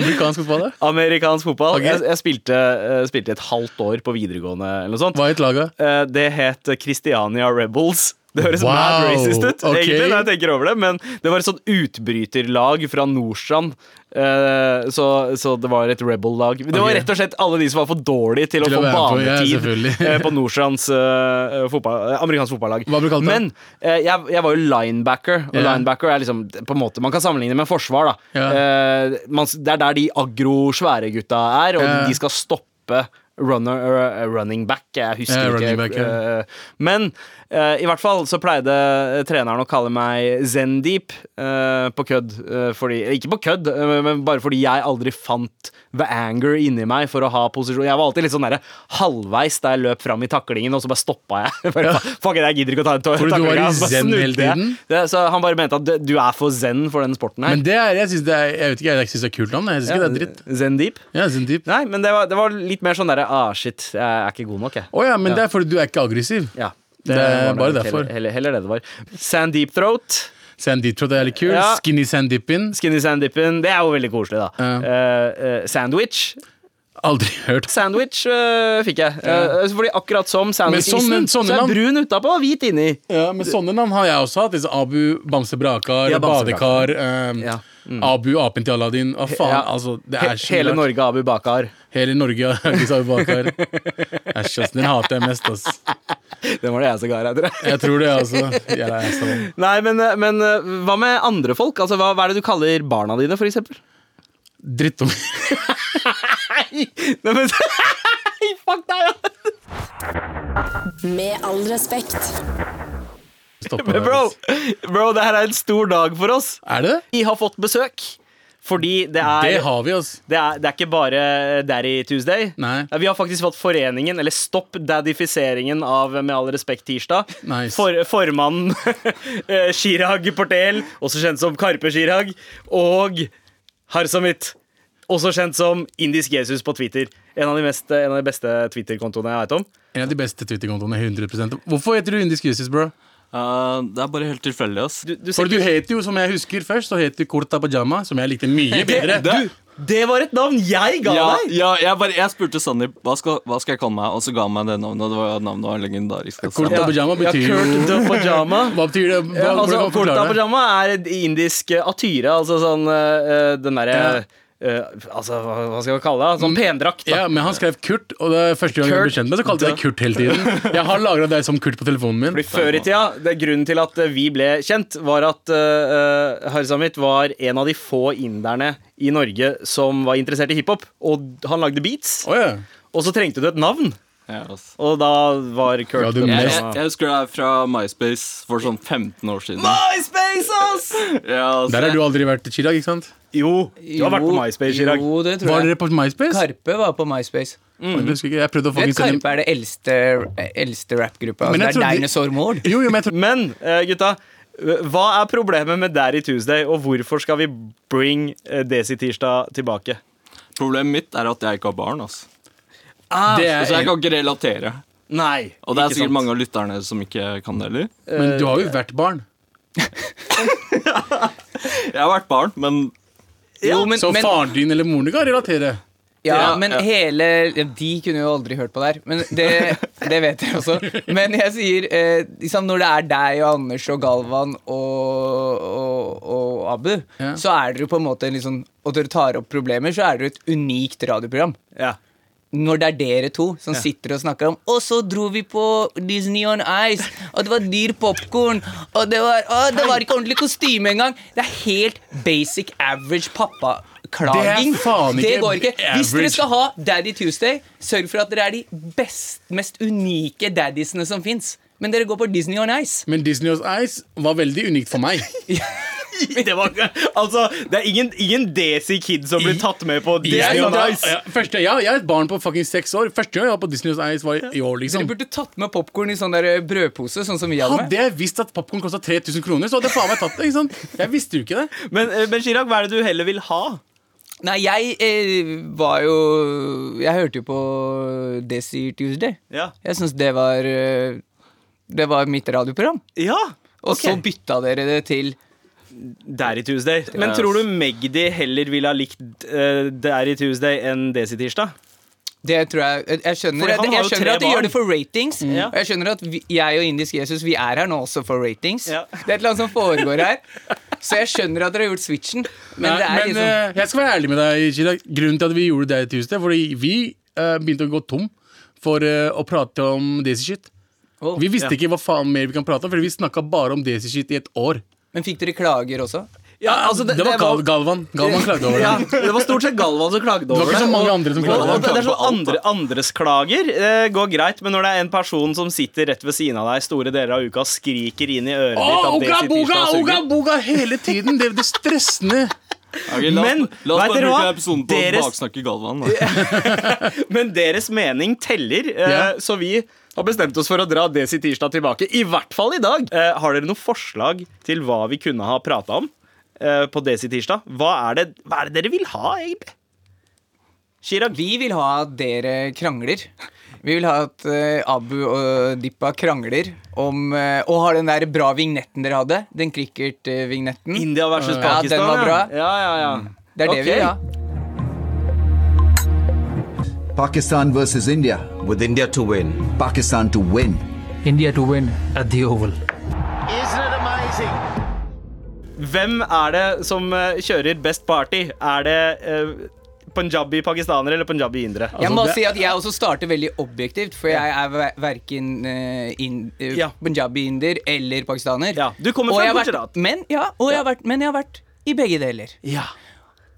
Amerikansk fotball, det.
Amerikansk fotball.
Ok.
Jeg, jeg spilte, eh, spilte et halvt år på videregående eller noe sånt.
Hva het laget?
Eh, det het Christiania Rebels. Det høres
Wow,
mad racist ut,
ok.
egentlig, når jeg tenker over det, men det var et sånt utbryterlag fra Nordstrand. Eh, så, så det var et rebel-lag. Det var
Ok.
rett og slett alle de som var for dårlige til, å
Til å
få
være på- ja,
banetid
selvfølgelig.
eh, på Nordstrands eh, fotball, eh, amerikansk fotballag.
Hva ble du kalt da?
men eh, jeg, jeg var jo linebacker, og
Ja.
linebacker er liksom på en måte Man kan sammenligne med forsvar, da.
Ja.
Eh, man, det er der de agro-svære gutta er, og
Ja.
de skal stoppe runner, eh, running back. Jeg husker husker
Ja, Eh,
ikke.
running back, ja.
eh, Men eh, i hvert fall så pleide eh, treneren å kalle meg Zendeep eh, på kødd. eh, fordi, ikke på kødd, eh, men bare fordi jeg aldri fant the anger inni meg for å ha posisjon. Jeg var alltid litt sånn derre halvveis da jeg løp fram i taklingen, og så bare stoppa jeg. [LAUGHS] Bare, Fuck it, jeg gidder ikke å ta en
Fordi du var i zen hele tiden?
Det, så han bare mente at du- du er for zen for denne sporten her.
Men det er, jeg syns det er Jeg vet ikke, jeg syns det er kult navn. Jeg syns ikke det er dritt.
Zendeep?
Ja, Sandeep.
Nei, men det var, det var litt mer sånn derre ah, shit, jeg er ikke god nok, jeg.
Å ja, men det er fordi du er ikke aggressiv.
Ja.
Det er
var
bare
nok
derfor.
Heller, heller, heller det det var. Sandeep Throat.
Sandeep Chod er litt kul.
Ja.
Skinny Sandeepin.
Skinny Sandeepen. Det er jo veldig koselig, da.
Ja.
Eh, eh, sandwich.
Aldri hørt.
Sandwich eh, fikk jeg. Eh, fordi akkurat som sandwichisen,
Men sånne- sånne
så er
navn-
brun utapå og hvit inni.
Ja, men sånne navn har jeg også hatt. Liksom Abu Bamse Brakar,
Ja, Bamse
Badekar, eh,
Ja,
Abu Apen til Aladdin. Hva faen,
Ja.
altså. Det
He
er så
hele
rart.
Norge Abu Bakar.
Hele Norge har Abu Bakar. Æsj, ass. Den hater jeg mest, ass.
Den var det jeg som ga deg, tror jeg.
Jeg tror det, altså. Jeg er ass, altså.
[LAUGHS] Nei, men, eh, men eh, hva med andre folk? Altså, hva, hva er det du kaller barna dine, for eksempel?
Drittunge.
Nei,
[LAUGHS]
men, fuck deg, ja!
Med all respekt.
Stopp
Men
her,
bro,
ass.
bro, det her er en stor dag for oss.
Er det det?
Vi har fått besøk. Fordi det er
Det har vi, ass.
Det er, det er ikke bare Daddy Tuesday.
Nei.
Vi har faktisk fått foreningen, eller Stopp daddifiseringen av Med all respekt tirsdag.
Nice.
For, formannen [LAUGHS] eh, Chirag Portel, også kjent som Karpe Chirag, og Harsomit. Også kjent som Indisk Jesus på Twitter. En av de, mest, eh, en av de beste Twitter-kontoene jeg veit om.
En av de beste Twitter-kontoene. 100 Hvorfor heter du Indisk Justice, bro?
Eh, det er bare helt tilfeldig, ass.
Du, du ser
For du het jo, som jeg husker først, så het du Kurta Pajama, som jeg
[LAUGHS]
likte mye bedre.
det-
du, det var et navn jeg ga
ja,
deg!
ja, jeg, bare, jeg spurte Sandeep hva, skal- hva skal jeg kalle meg, og så ga han meg det navnet. Og det var navnet var legendarisk. altså. ass.
Kurta
Ja.
Ja,
Pajama betyr
Kurt
jo
the Pajama.
[LAUGHS] Hva betyr det? Hva,
Ja, altså, Kurta
hvordan forklarer du det?
pajama er et indisk eh, atyre, altså sånn eh, den derre eh, Altså, hva, hva skal man kalle det? Sånn pendrakt, da.
Mm. Ja, men han skrev Kurt, og det er første gang jeg ble
Kurt.
kjent med så kalte jeg deg Kurt hele tiden. Jeg har lagra deg som Kurt på telefonen min.
Fordi Før i tida, det Grunnen til at eh, vi ble kjent, var at uh, Harzamit var en av de få inderne i Norge som var interessert i hiphop. Og han lagde beats.
Å ja.
Og så trengte du et navn,
Ja, ass.
og da var Kurt
Ja, du
the
Jeg,
Pajama.
jeg, jeg husker det er fra MySpace for sånn 15 år siden.
MySpace, ass!
Ja, ass.
Der har du aldri vært, Chirag, ikke sant?
Jo, du har vært på
Jo,
MySpace, Chirag.
Jo, det tror
Var
jeg.
dere på MySpace?
Karpe var på MySpace.
Jeg husker ikke, jeg prøvde å
Du vet,
faktisk sende-
Karpe er det eldste, eldste rappgruppa.
Men
Altså, det
jeg
er
trodde-
Dinosaur Mord.
Jo, jo,
[LAUGHS]
men jeg tror
Men eh, gutta, eh, hva er problemet med Daddy Tuesday, og hvorfor skal vi bring eh, Desi Tirsdag tilbake?
Problemet mitt er at jeg ikke har barn. ass.
det
Så jeg
er
kan ikke relatere.
Nei.
Og det er sikkert mange av lytterne som ikke kan det heller.
Men du har jo vært barn.
Jeg har vært barn, men
Jo, men,
Så
men,
faren din eller moren din kan relatere.
ja,
Ja,
men
ja.
hele ja, De kunne jo aldri hørt på der. Men det, det vet jeg også. Men jeg sier eh, liksom Når det er deg og Anders og Galvan og, og, og Abu,
Ja.
liksom- så er dere jo på en måte en litt sånn Og dere tar opp problemer, så er dere jo et unikt radioprogram.
Ja. [LAUGHS]
når det er dere to som sitter og snakker om Og så dro vi på Disney on Ice, og det var dyr popkorn, og det var, å, det var ikke ordentlig kostyme engang. Det er helt basic average pappa-klaging.
Det er faen ikke
Det går ikke. Hvis dere
average.
skal ha Daddy Tuesday, sørg for at dere er de best, mest unike daddiesene som fins. Men dere går på Disney on Ice.
Men Disney House Ice var veldig unikt for meg.
Det, var, ikke- altså, det er ingen, ingen Desi Kid som blir tatt med på Disney
Jeg-
on
da-
Ice.
ja, første, ja, jeg er et barn på fucking seks år. Første gang jeg var på Disney House Ice, var i år,
Dere
liksom.
burde tatt med popkorn i sånn der brødpose, sånn som vi hadde
Hadde
med.
jeg visst at popkorn kosta 3000 kroner, så hadde jeg faen meg tatt det. ikke sant? Jeg visste jo ikke det.
Men, eh, men Chirag, hva er det du heller vil ha?
Nei, jeg eh, var jo Jeg hørte jo på Desi Tuesday.
Ja.
Jeg syns det var eh, Det var mitt radioprogram.
ja.
Og så
ok.
bytta dere det til
Daddy Tuesday. Men
Yes.
tror du Magdi heller ville ha likt uh, Daddy Tuesday enn Desi Tirsdag?
Det tror jeg Jeg skjønner,
Fordi han
jeg,
har
jeg
jo
skjønner
tre
at de gjør
barn.
det for ratings.
Ja.
Og jeg skjønner at vi, jeg og Indisk Jesus Vi er her nå også for ratings.
Ja.
Det er et eller annet som foregår her. Så jeg skjønner at dere har gjort switchen. Men
Nei,
det er
men,
liksom
eh, jeg skal være ærlig med deg, Chirag. Grunnen til at vi gjorde det i Tuesday, fordi vi eh, begynte å gå tom for eh, å prate om Desi-shit.
Åh.
Vi visste
Ja.
ikke hva faen mer vi kan prate om, fordi vi snakka bare om Desi-shit i et år.
Men fikk dere klager også?
Ja, altså,
det, var Gal Galvan. Galvan klagde [LAUGHS] over det.
Ja, det var stort sett Galvan som klagde over det.
var ikke så mange andre som klagde.
Og, og, og, det er
Klagde på
sånn
alt,
andre, andres klager eh, går greit, men når det er en person som sitter rett ved siden av deg store deler av uka og skriker inn i øret ditt
Å,
at
Oga
Desi
boga,
Tirsdag
oga
suger
boga hele tiden! Det, det stressende.
Ok, la oss,
Men,
la oss
vet dere
bare bruke
hva?
denne episoden på
Deres-
å baksnakke Galvan. Da.
Men deres mening teller, eh,
Ja.
så vi har bestemt oss for å dra Desi Tirsdag tilbake. I hvert fall i dag. Eh, har dere noen forslag til hva vi kunne ha prata om eh, på Desi Tirsdag? Hva er, det, hva er det dere vil ha, egentlig? Chirag.
Vi vil ha at dere krangler. Vi vil ha at eh, Abu og Dippa krangler om eh, Og har den der bra vignetten dere hadde. Den eh, cricket-vignetten.
India versus
Mm. Ja, den
Pakistan.
var bra.
Ja, ja, ja.
Det er det vi vil ha.
Ok.
Pakistan versus India.
with India to win.
Pakistan to win.
India to win at the Oval.
Hvem er det som eh, kjører best party? Er det eh, punjabi-pakistanere eller punjabi-indere?
Jeg
Altså,
må
det-
si at jeg også starter veldig objektivt, for jeg er ver- verken eh, in- eh,
Ja.
punjabi-inder eller pakistaner.
Ja, du kommer
Og
fra
jeg har vært-
Gujarat.
Men, ja, og jeg har vært, men jeg har vært i begge deler.
Ja.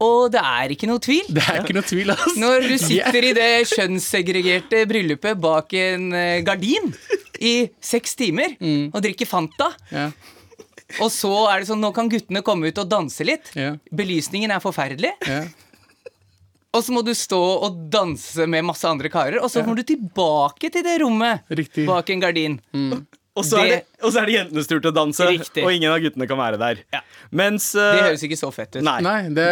Og det er ikke noe tvil.
Det er ikke noe tvil, ass.
Når
[LAUGHS]
du
Vi er-
sitter i det kjønnssegregerte bryllupet bak en eh, gardin i seks timer og drikker Fanta,
ja.
og så er det sånn Nå kan guttene komme ut og danse litt.
Ja.
Belysningen er forferdelig.
Ja.
Og så må du stå og danse med masse andre karer, og så må du tilbake til det rommet
Riktig.
bak en gardin.
Mm.
Og så, er det, og så er det jentenes tur til å danse,
Riktig.
og ingen av guttene kan være der.
Ja.
Mens eh,
Det høres ikke så fett ut.
Nei.
Nei, det,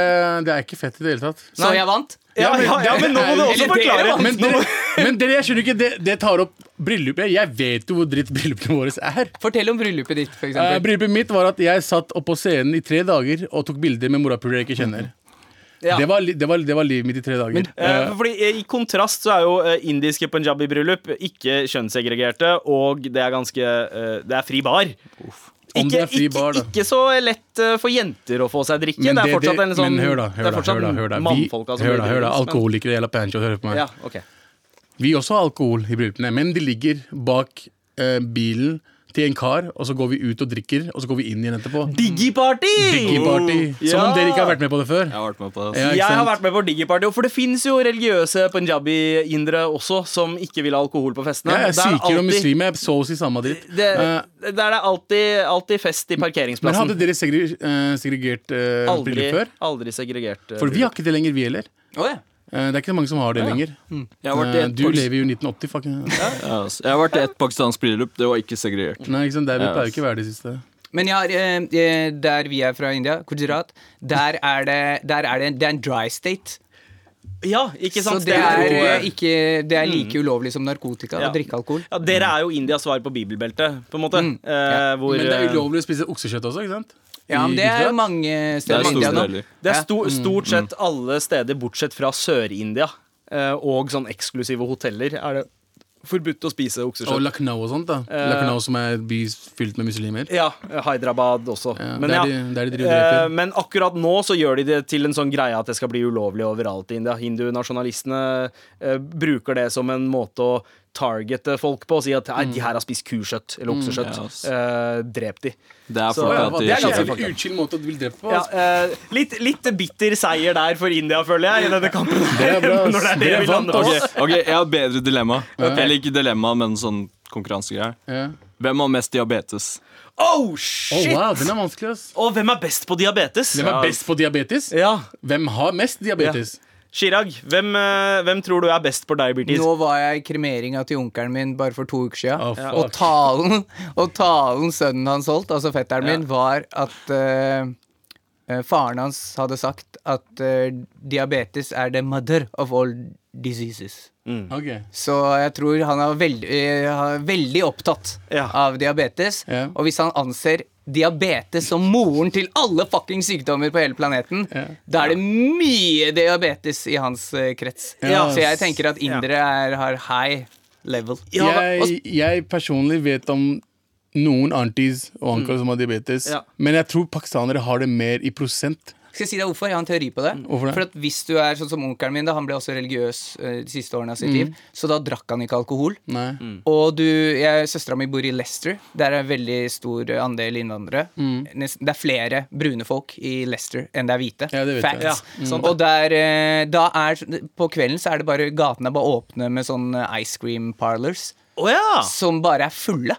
det er ikke fett i det hele tatt.
Så jeg vant.
Ja, ja, ja, men nå må du også
Eller dere,
forklare.
da.
Men dere, men dere, jeg skjønner ikke, det, det tar opp bryllupet. Jeg vet jo hvor dritt bryllupene våre er.
Fortell om bryllupet ditt, for
Eh,
eksempel.
bryllupet mitt var at jeg satt oppå scenen i tre dager og tok bilder med morapuler jeg ikke kjenner.
Mm. Ja.
Det, var, li- det, var, det var livet mitt i tre dager.
Eh,
Eh,
fordi eh, I kontrast så er jo eh, indiske punjabi-bryllup ikke kjønnssegregerte, og det er ganske eh, Det er fri bar.
Om det er fri bar, da.
ikke, ikke så lett eh, for jenter å få seg drikke.
men
det er fortsatt en sånn
men hør da,
det
hør
er
da,
fortsatt
hør da, hør da. Vi,
mannfolka som
hør da,
blir
hør da.
bryllups, men-
Alkoholikere eller pancho, hør på meg.
Ja, ok
Vi også har alkohol i bryllupene, men de ligger bak eh, bilen til en kar, og så går vi ut og drikker, og så går vi inn igjen etterpå.
Digiparty!
Diggiparty. Som om dere ikke har vært med på det før.
Jeg har vært med på
Ja,
det. ass.
ikke
Jeg har
sant?
vært med på Digiparty, og for det fins jo religiøse punjabi-indere også som ikke vil ha alkohol på festene.
Jeg er
Det er
sikher og
alltid-
muslim, jeg så å si samme dritt.
Det,
Eh,
der er det alltid, alltid fest i
men
parkeringsplassen.
hadde dere segre, eh, segregert eh,
aldri,
bryllup før?
aldri segregert. eh,
For vi
bryllup.
har ikke det lenger, vi heller.
Å, ja.
Eh, det er ikke så mange som har det lenger.
Jeg har vært i
Eh,
et
du
pakis-
lever jo i 1980, fucking.
Ja, ass. Jeg har vært i et pakistansk bryllup. Det var ikke segregert.
Nei, ikke sant? Der vi
Ja,
pleier
ass.
ikke å være det siste.
Men jeg har, eh, eh, der vi er fra India, Gujarat, der er det, der er det, det er en dry state.
Ja, ikke
Så
sant?
det er,
jo-
eh, ikke, det er like ulovlig som narkotika
Ja.
å drikke alkohol.
ja, Dere er jo Indias svar på bibelbeltet, på en måte. Eh,
Ja.
hvor,
Mm. Men det er
eh,
ulovlig å spise oksekjøtt også, ikke sant?
Ja, men
I
det er
Gujarat.
mange
Det
steder
er
i India
store
nå.
deler.
det er
Ja.
sto,
Mm,
stort sett alle steder bortsett fra Sør-India eh, og sånn eksklusive hoteller er det forbudt å spise
Og
okseskjøtt.
Lucknow og sånt. da Lucknow som er en by fylt med muslimer.
Eh. Ja, Hyderabad også.
Ja,
men,
der
ja,
de- der de driver
eh,
dreper.
men akkurat nå så gjør de det til en sånn greie at det skal bli ulovlig overalt i India. Hindunasjonalistene eh, bruker det som en måte å targete folk på og si at «Nei,
Mm.
de her har spist kuskjøtt eller okseskjøtt.
ja, ass.
Eh, drep de.
Det er
Så-
fordi
Ja,
at
det er
de
ganske
skjer.
fucka.
uchill måte å bli drept på. altså.
Ja, eh, litt, litt bitter seier der for India, føler jeg, i denne kampen.
Det
[LAUGHS]
er bra.
Når det er det
Dere
vi lander på.
vant, ass.
Ok, ok, jeg har et bedre dilemma. Eller ikke dilemma, men sånn konkurransegreier.
Ja.
Hvem har mest diabetes?
Oh,
Oh,
shit!
wow, den er vanskelig, ass.
Og hvem er best på diabetes?
Hvem er best på diabetes?
Ja,
Hvem har mest diabetes?
Chirag, hvem, eh, hvem tror du er best på diabetes?
Nå var jeg i kremeringa til onkelen min bare for to uker siden.
Å, fuck.
og, talen, og talen sønnen hans holdt, altså fetteren min, var at eh, eh, faren hans hadde sagt at eh, diabetes er the mother of all diseases.
Ok.
Så jeg tror han er veldig, eh, han er veldig opptatt
Ja.
av diabetes.
Ja.
Og hvis han anser diabetes som moren til alle fucking sykdommer på hele planeten, da er det mye diabetes i hans eh, krets.
Ja.
Så jeg tenker at indere er, har high level.
Jeg, jeg personlig vet om noen aunties og onkler som har diabetes,
Ja.
men jeg tror pakistanere har det mer i prosent.
Skal jeg si deg hvorfor? Jeg har en teori på det.
Hvorfor det?
For at hvis du er sånn som onkelen min, da, han ble også religiøs eh, de siste årene
Mm.
av sitt liv, så da drakk han ikke alkohol.
Nei.
Og du, jeg, søstera mi bor i Leicester. Der er en veldig stor andel innvandrere.
Mm.
Nesten, det er flere brune folk i Leicester enn det er hvite.
Ja, det vet jeg.
Facts. Og der, eh, da er, på kvelden så er det bare gatene er bare åpne med sånne ice cream parlors
Å ja!
Ah.
som bare er fulle.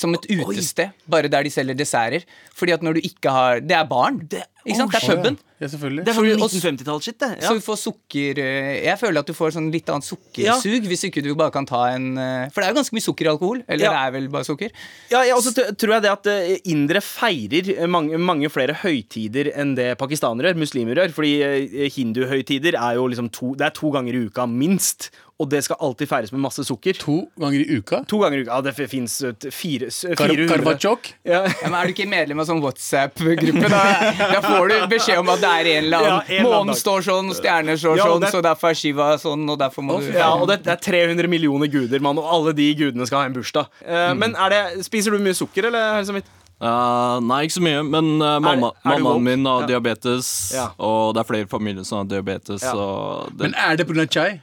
Som et utested, bare der de selger desserter. Fordi at når du ikke har Det er baren. ikke sant? Det er puben.
Ja, selvfølgelig.
Det er sånn
Fordi- og-
1950-tallsshit, det. Ja.
Så du får sukker eh, Jeg føler at du får sånn litt annet sukkersug hvis ikke du bare kan ta en eh, For det er jo ganske mye sukker i alkohol. Eller
Ja.
det er vel bare sukker.
Ja, ja, og så t- tror jeg det at eh, indere feirer eh, mange, mange flere høytider enn det pakistanere gjør, muslimer gjør. Fordi eh, hinduhøytider er jo liksom to, det er to ganger i uka, minst. Og det skal alltid feires med masse sukker.
To ganger i uka?
To ganger i uka. Ja, det fins fire s-
Kar
400.
Karvachok?
Ja.
Ja, men er du ikke medlem av sånn WhatsApp-gruppe, da, da får du beskjed om at det er en eller annen
Ja, en eller annen
Månen
dag.
står sånn, og stjerner står
Ja, og
sånn,
det-
så derfor er Shiva sånn, og derfor må du
Ja, og det, det er 300 millioner guder, mann, og alle de gudene skal ha en bursdag. Eh,
Mm.
Men er det, spiser du mye sukker, eller? Helse Midt?
Eh, nei, ikke så mye, men eh, mamma,
er du woke?
mammaen min har
Ja.
diabetes.
Ja.
Og det er flere familier som har diabetes.
Ja.
Og det,
Men er det pga. chai?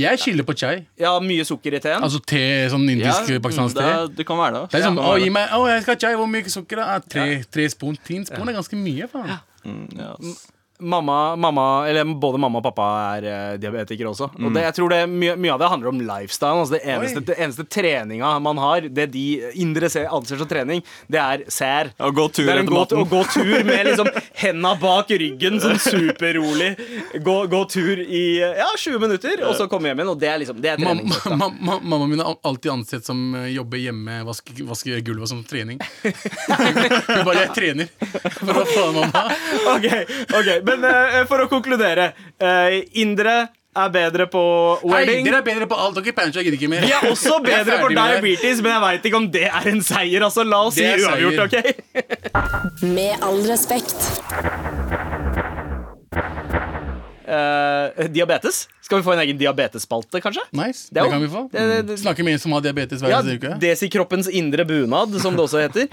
Jeg skylder på chai.
Ja, mye sukker i teen?
Altså te, sånn
Ja,
indisk pakistansk
det,
te.
er- det kan være det.
Det er sånn,
Ja.
å, gi meg, å, jeg skal ha chai, hvor mye sukker da? Ah, Tre, tre spon, ti spon er ganske mye, faen.
Mm, ja, ass.
mamma, mamma, eller både mamma og pappa er eh, diabetikere også. Og
Mm.
det, jeg tror det, mye, mye av det handler om lifestyle. Altså det eneste,
Oi.
det eneste treninga man har, det de indre ser, anser som trening, det er sær.
Å gå tur
det er en
etter
gå,
maten.
å gå tur med liksom henda bak ryggen,
[LAUGHS]
sånn superrolig. Gå, gå tur i eh, ja, 20 minutter, og så komme hjem igjen. Og det er liksom det er
Mam-
trening.
ma- ma- Mamma min er alltid ansett som eh, jobber hjemme, vaske, vaske gulvet som trening. [LAUGHS] Hun bare 'jeg trener'. [LAUGHS] Hva faen, mamma?
Ok, ok, Men eh, for å konkludere. eh, indre er bedre på
Hei,
wedding.
dere er bedre på alt, dere Pancha gidder ikke mer.
Vi er også
Jeg
bedre
er
for
ferdig med det.
diabetes, men jeg veit ikke om det er en seier. Altså, La oss si
Det er
uavgjort, ok?
Med all respekt.
Eh, diabetes? Skal vi få en egen diabetesspalte, kanskje?
Nice,
Det
det,
er jo-
kan vi få. Mm.
det- det- det-
Snakke med en som har diabetes hver
Ja,
eneste uke.
Desikroppens indre bunad, som det også heter.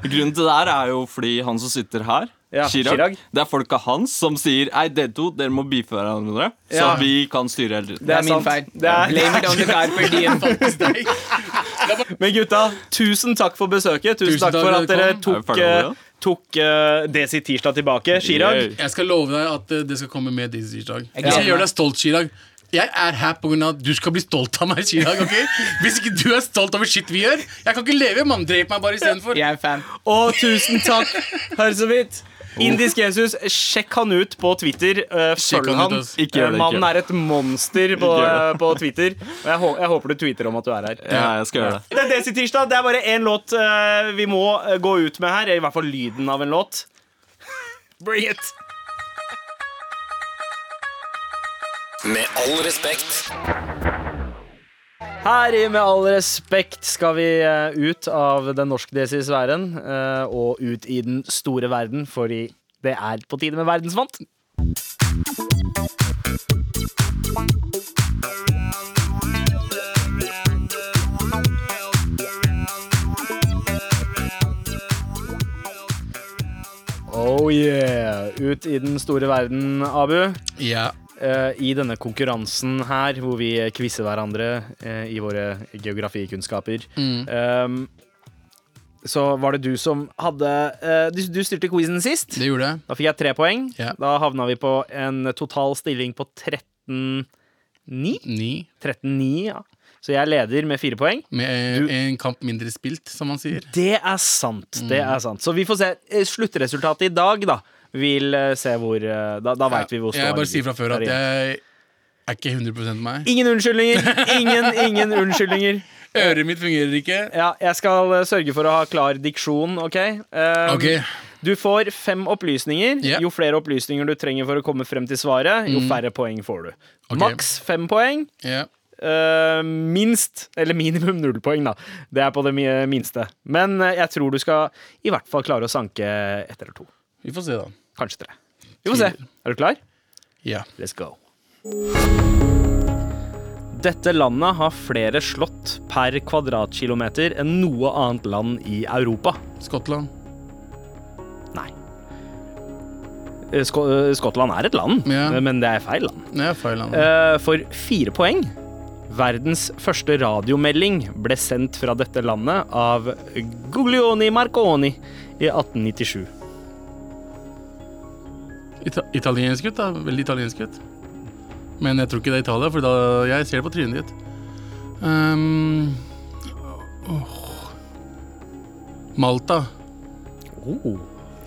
Grunnen til det her er jo fordi han som sitter her,
Ja,
Chirag,
Chirag.
det er folka hans som sier Ei, dere to, dere må beefe hverandre, så
Ja.
vi kan styre
Det
hele tiden.
er
Det er min
sant.
feil.
Det er-
Blame it on the carpet diem.
Men gutta, tusen takk for besøket. Tusen,
Tusen
takk
takk
for
for
at
dere
dere
kom.
Er vi
tok,
ferdig med
eh,
det?
tok eh, Desi Tirsdag tilbake. Chirag.
Yay.
[LAUGHS] Jeg skal love deg at eh, det skal komme med Dizzy Chirag. Jeg
gleder
skal gjøre
meg.
deg stolt, Chirag. Jeg er her på grunn av at du skal bli stolt av meg, Chirag. ok? Hvis ikke du er stolt over shit vi gjør. Jeg kan ikke leve. Mann, drep meg bare istedenfor.
Jeg er fan.
Og tusen takk, hør så vidt. Indisk Jesus, sjekk han ut på Twitter. eh,
Sjekk
følg
han ut,
han.
ass.
Ikke gjør det,
Eh,
ikke
Mannen
gjør
er et monster på, eh,
gjør
på Twitter. Og jeg, hå- jeg håper du tweeter om at du er her.
Ja, jeg skal gjøre det.
Det er Desi Tirsdag. Det er bare én låt eh, vi må eh, gå ut med her. I hvert fall lyden av en låt. Bring it!
Med all respekt.
Her i Med all respekt skal vi eh, ut av den norsk-desi sfæren eh, og ut i den store verden, fordi det er på tide med verdensvant. Oh yeah! Ut i den store verden, Abu.
Ja.
Eh, I denne konkurransen her, hvor vi quizer hverandre eh, i våre geografikunnskaper,
Mm.
ehm, så var det du som hadde eh, du, du styrte quizen sist.
Det gjorde jeg.
Da fikk jeg tre poeng.
Ja.
Da havna vi på en total stilling på 13-9.
Ni.
13-9, ja. Så jeg leder med fire poeng.
Med
Du-
eh, en kamp mindre spilt, som man sier.
Det er sant. det
Mm.
er sant Så vi får se. Eh, Sluttresultatet i dag, da, vil eh, se hvor eh, Da, da veit vi hvor
Jeg
ståa
bare sier fra før at
ligger.
jeg er ikke 100 meg.
Ingen unnskyldninger! Ingen, ingen unnskyldninger.
Øret mitt fungerer ikke.
Ja, jeg skal eh, sørge for å ha klar diksjon, OK? Um,
Ok,
Du får fem opplysninger.
Ja. Mm.
Jo flere opplysninger du trenger for å komme frem til svaret, jo færre poeng får du.
Ok.
Maks fem poeng.
ja.
Eh, minst, eller minimum null poeng, da. Det er på det mi- minste. Men eh, jeg tror du skal i hvert fall klare å sanke ett eller to.
Vi får se, da.
Kanskje tre. Vi får se. Er du klar?
Ja.
Let's go. Dette landet har flere slott per kvadratkilometer enn noe annet land i Europa.
Skottland.
Nei. Eh, Sko eh, Skottland er et land,
Ja.
eh, men det er feil land.
Nei, feil land.
Eh, For fire poeng. Verdens første radiomelding ble sendt fra dette landet av Guglioni Marconi i 1897.
Ita italiensk ut, da. Veldig italiensk ut. Men jeg tror ikke det er Italia, for da jeg ser det på trynet ditt. Ehm, åh. Malta.
Oh.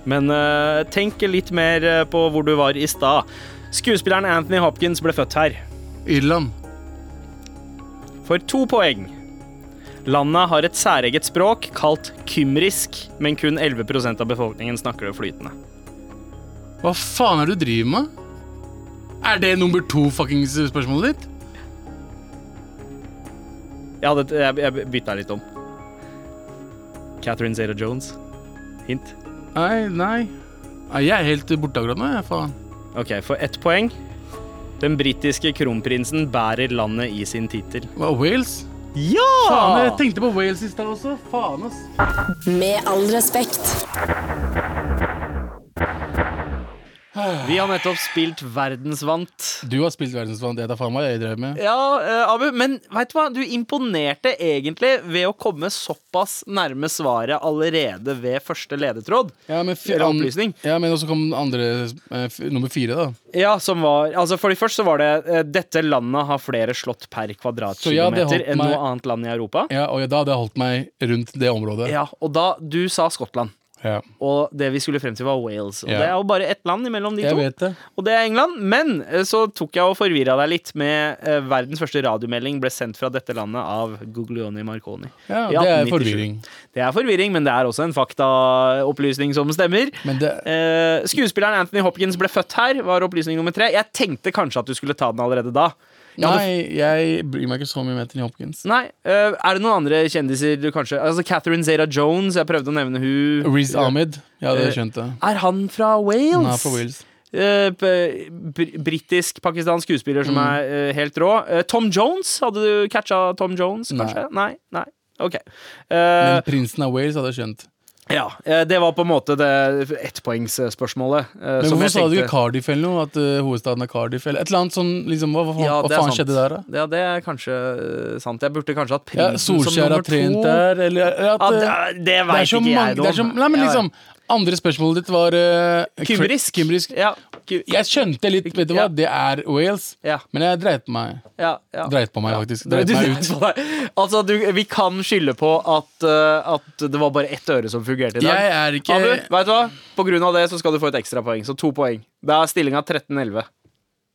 Men eh, tenk litt mer eh, på hvor du var i stad. Skuespilleren Anthony Hopkins ble født her.
Irland.
For to poeng. Landet har et særeget språk kalt kymrisk, men kun 11 av befolkningen snakker det flytende.
Hva faen er det du driver med? Er det nummer to fuckings spørsmålet ditt?
Jeg, hadde, jeg, jeg bytta litt om. Catherine Zeta Jones. Hint.
Nei, nei. Nei, Jeg er helt borte akkurat nå, jeg, faen.
OK, for ett poeng. Den britiske kronprinsen bærer landet i sin tittel.
Hva, Wales?
Ja!
Faen,
Ah.
jeg tenkte på Wales i stad også. Faen, ass.
Med all respekt.
Vi har nettopp spilt Verdensvant.
Du har spilt verdensvant, det er da faen meg jeg drev med.
Ja, eh, Abu, men vet du hva? Du imponerte egentlig ved å komme såpass nærme svaret allerede ved første ledetråd.
Ja, men, fi-
Eller
an-
opplysning.
ja, men også kom den andre, eh, f nummer fire, da.
Ja, som var, altså Fordi først så var det eh, 'Dette landet har flere slott per
Så ja, det
kvadratkilometer
holdt
enn
meg-
noe annet land i Europa'.
Ja, og da hadde jeg holdt meg rundt det området.
Ja, Og da Du sa Skottland.
Ja.
Og det vi skulle frem til, var Wales. Og
Ja.
det er jo bare ett land imellom de
Jeg
to.
vet det.
Og det er England. Men eh, så tok jeg og forvirra deg litt med eh, verdens første radiomelding ble sendt fra dette landet av Guglioni Marconi.
Ja,
I
det er
1897.
forvirring.
Det er forvirring, men det er også en faktaopplysning som stemmer.
Men det,
Eh, skuespilleren Anthony Hopkins ble født her, var opplysning nummer tre. Jeg tenkte kanskje at du skulle ta den allerede da. Ja,
nei, jeg bryr meg ikke så mye om Anthony Hopkins.
Nei, eh, Er det noen andre kjendiser du kanskje Altså Catherine Zeta Jones, jeg prøvde å nevne hun
Riz Ahmed. Ja, Eh, det skjønte jeg.
Er han fra Wales?
Nei, for Wills.
Eh, b- br- Britisk-pakistansk skuespiller
Mm.
som er eh, helt rå. Eh, Tom Jones, hadde du catcha Tom Jones, kanskje? Nei. Nei, ok. Eh,
Men prinsen av Wales hadde jeg skjønt.
ja, eh, det var på en måte det ettpoengsspørsmålet. eh,
Men
som
hvorfor
jeg
sa du
tenkte-
ikke Cardiff eller noe? At eh, hovedstaden er Cardiff? Eller et eller annet sånn, liksom, hva, hva, faen-
Ja,
hva
det er
faen
sant.
skjedde der, da?
Ja, det er kanskje eh, sant. Jeg burde kanskje hatt
Ja,
prinsen som
Solskjær
nummer
har
to.
trent der, eller eller at
Ja,
eh,
det, det
det er
veit
så
ikke
mange
jeg noe
det er så,
om.
Nei, men
Ja,
liksom Andre spørsmålet ditt var eh, kry-
Kybrisk.
Kybrisk.
Ja, ku- ja,
Jeg skjønte litt, vet du hva,
Ja.
det er Wales,
Ja.
men jeg dreit meg.
ja, ja.
Dreit på meg, faktisk.
Du-
Dreit
du-
meg ut.
[LAUGHS] altså, du, vi kan skylde på at, eh, at det var bare ett øre som fungerte i dag.
Jeg er ikke
Abu, vet du hva? På grunn av det så skal du få et ekstrapoeng. Så to poeng. Da er stillinga 13-11.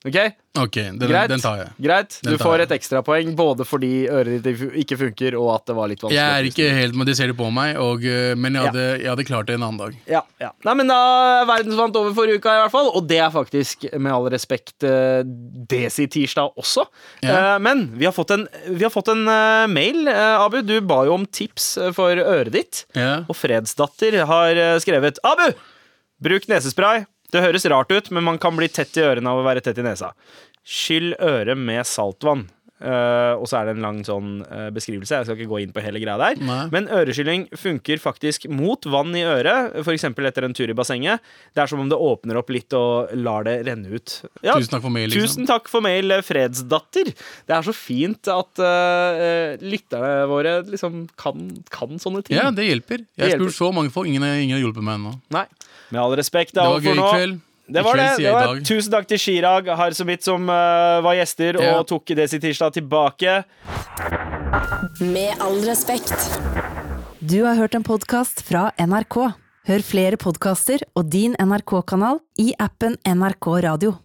Ok?
Ok, den,
Greit?
den tar jeg.
Greit?
Den
Du
tar
får
jeg.
et ekstrapoeng både fordi øret ditt ikke funker, og at det var litt vanskelig.
Jeg er ikke helt med, det ser du på meg, og, eh, men jeg hadde, jeg hadde klart det en annen dag.
Ja, ja. Nei, men da er verdensvant over forrige uka, i hvert fall. Og det er faktisk, med all respekt, eh, Desi-tirsdag også.
Ja.
Eh, Men vi har fått en, vi har fått en eh, mail. Eh, Abu, du ba jo om tips eh, for øret ditt.
Ja.
Og Fredsdatter har eh, skrevet Abu! Bruk nesespray. Det høres rart ut, men man kan bli tett i ørene av å være tett i nesa. Skyll øret med saltvann. Eh, eh, og så er det en lang sånn eh, beskrivelse. Jeg skal ikke gå inn på hele greia der.
Nei.
Men øreskylding funker faktisk mot vann i øret, f.eks. etter en tur i bassenget. Det er som om det åpner opp litt og lar det renne ut. Ja,
Tusen takk for mail, liksom.
Tusen takk for mail, eh, fredsdatter. Det er så fint at eh, eh, lytterne våre liksom kan, kan sånne ting.
Ja, det hjelper. Jeg
Det
har
hjelper.
spurt så mange folk, ingen, har- ingen har hjulpet meg ennå.
Nei. Med all respekt, det er
Det var
alt for
gøy i
nå.
kveld.
Det
I
var det.
kveld, sier
det
jeg i
var.
dag.
Tusen takk til Chirag Harsomit som eh, var gjester
Ja.
og tok Desi Tirsdag tilbake.
Med all respekt.
Du har hørt en podkast fra NRK. Hør flere podkaster og din NRK-kanal i appen NRK Radio.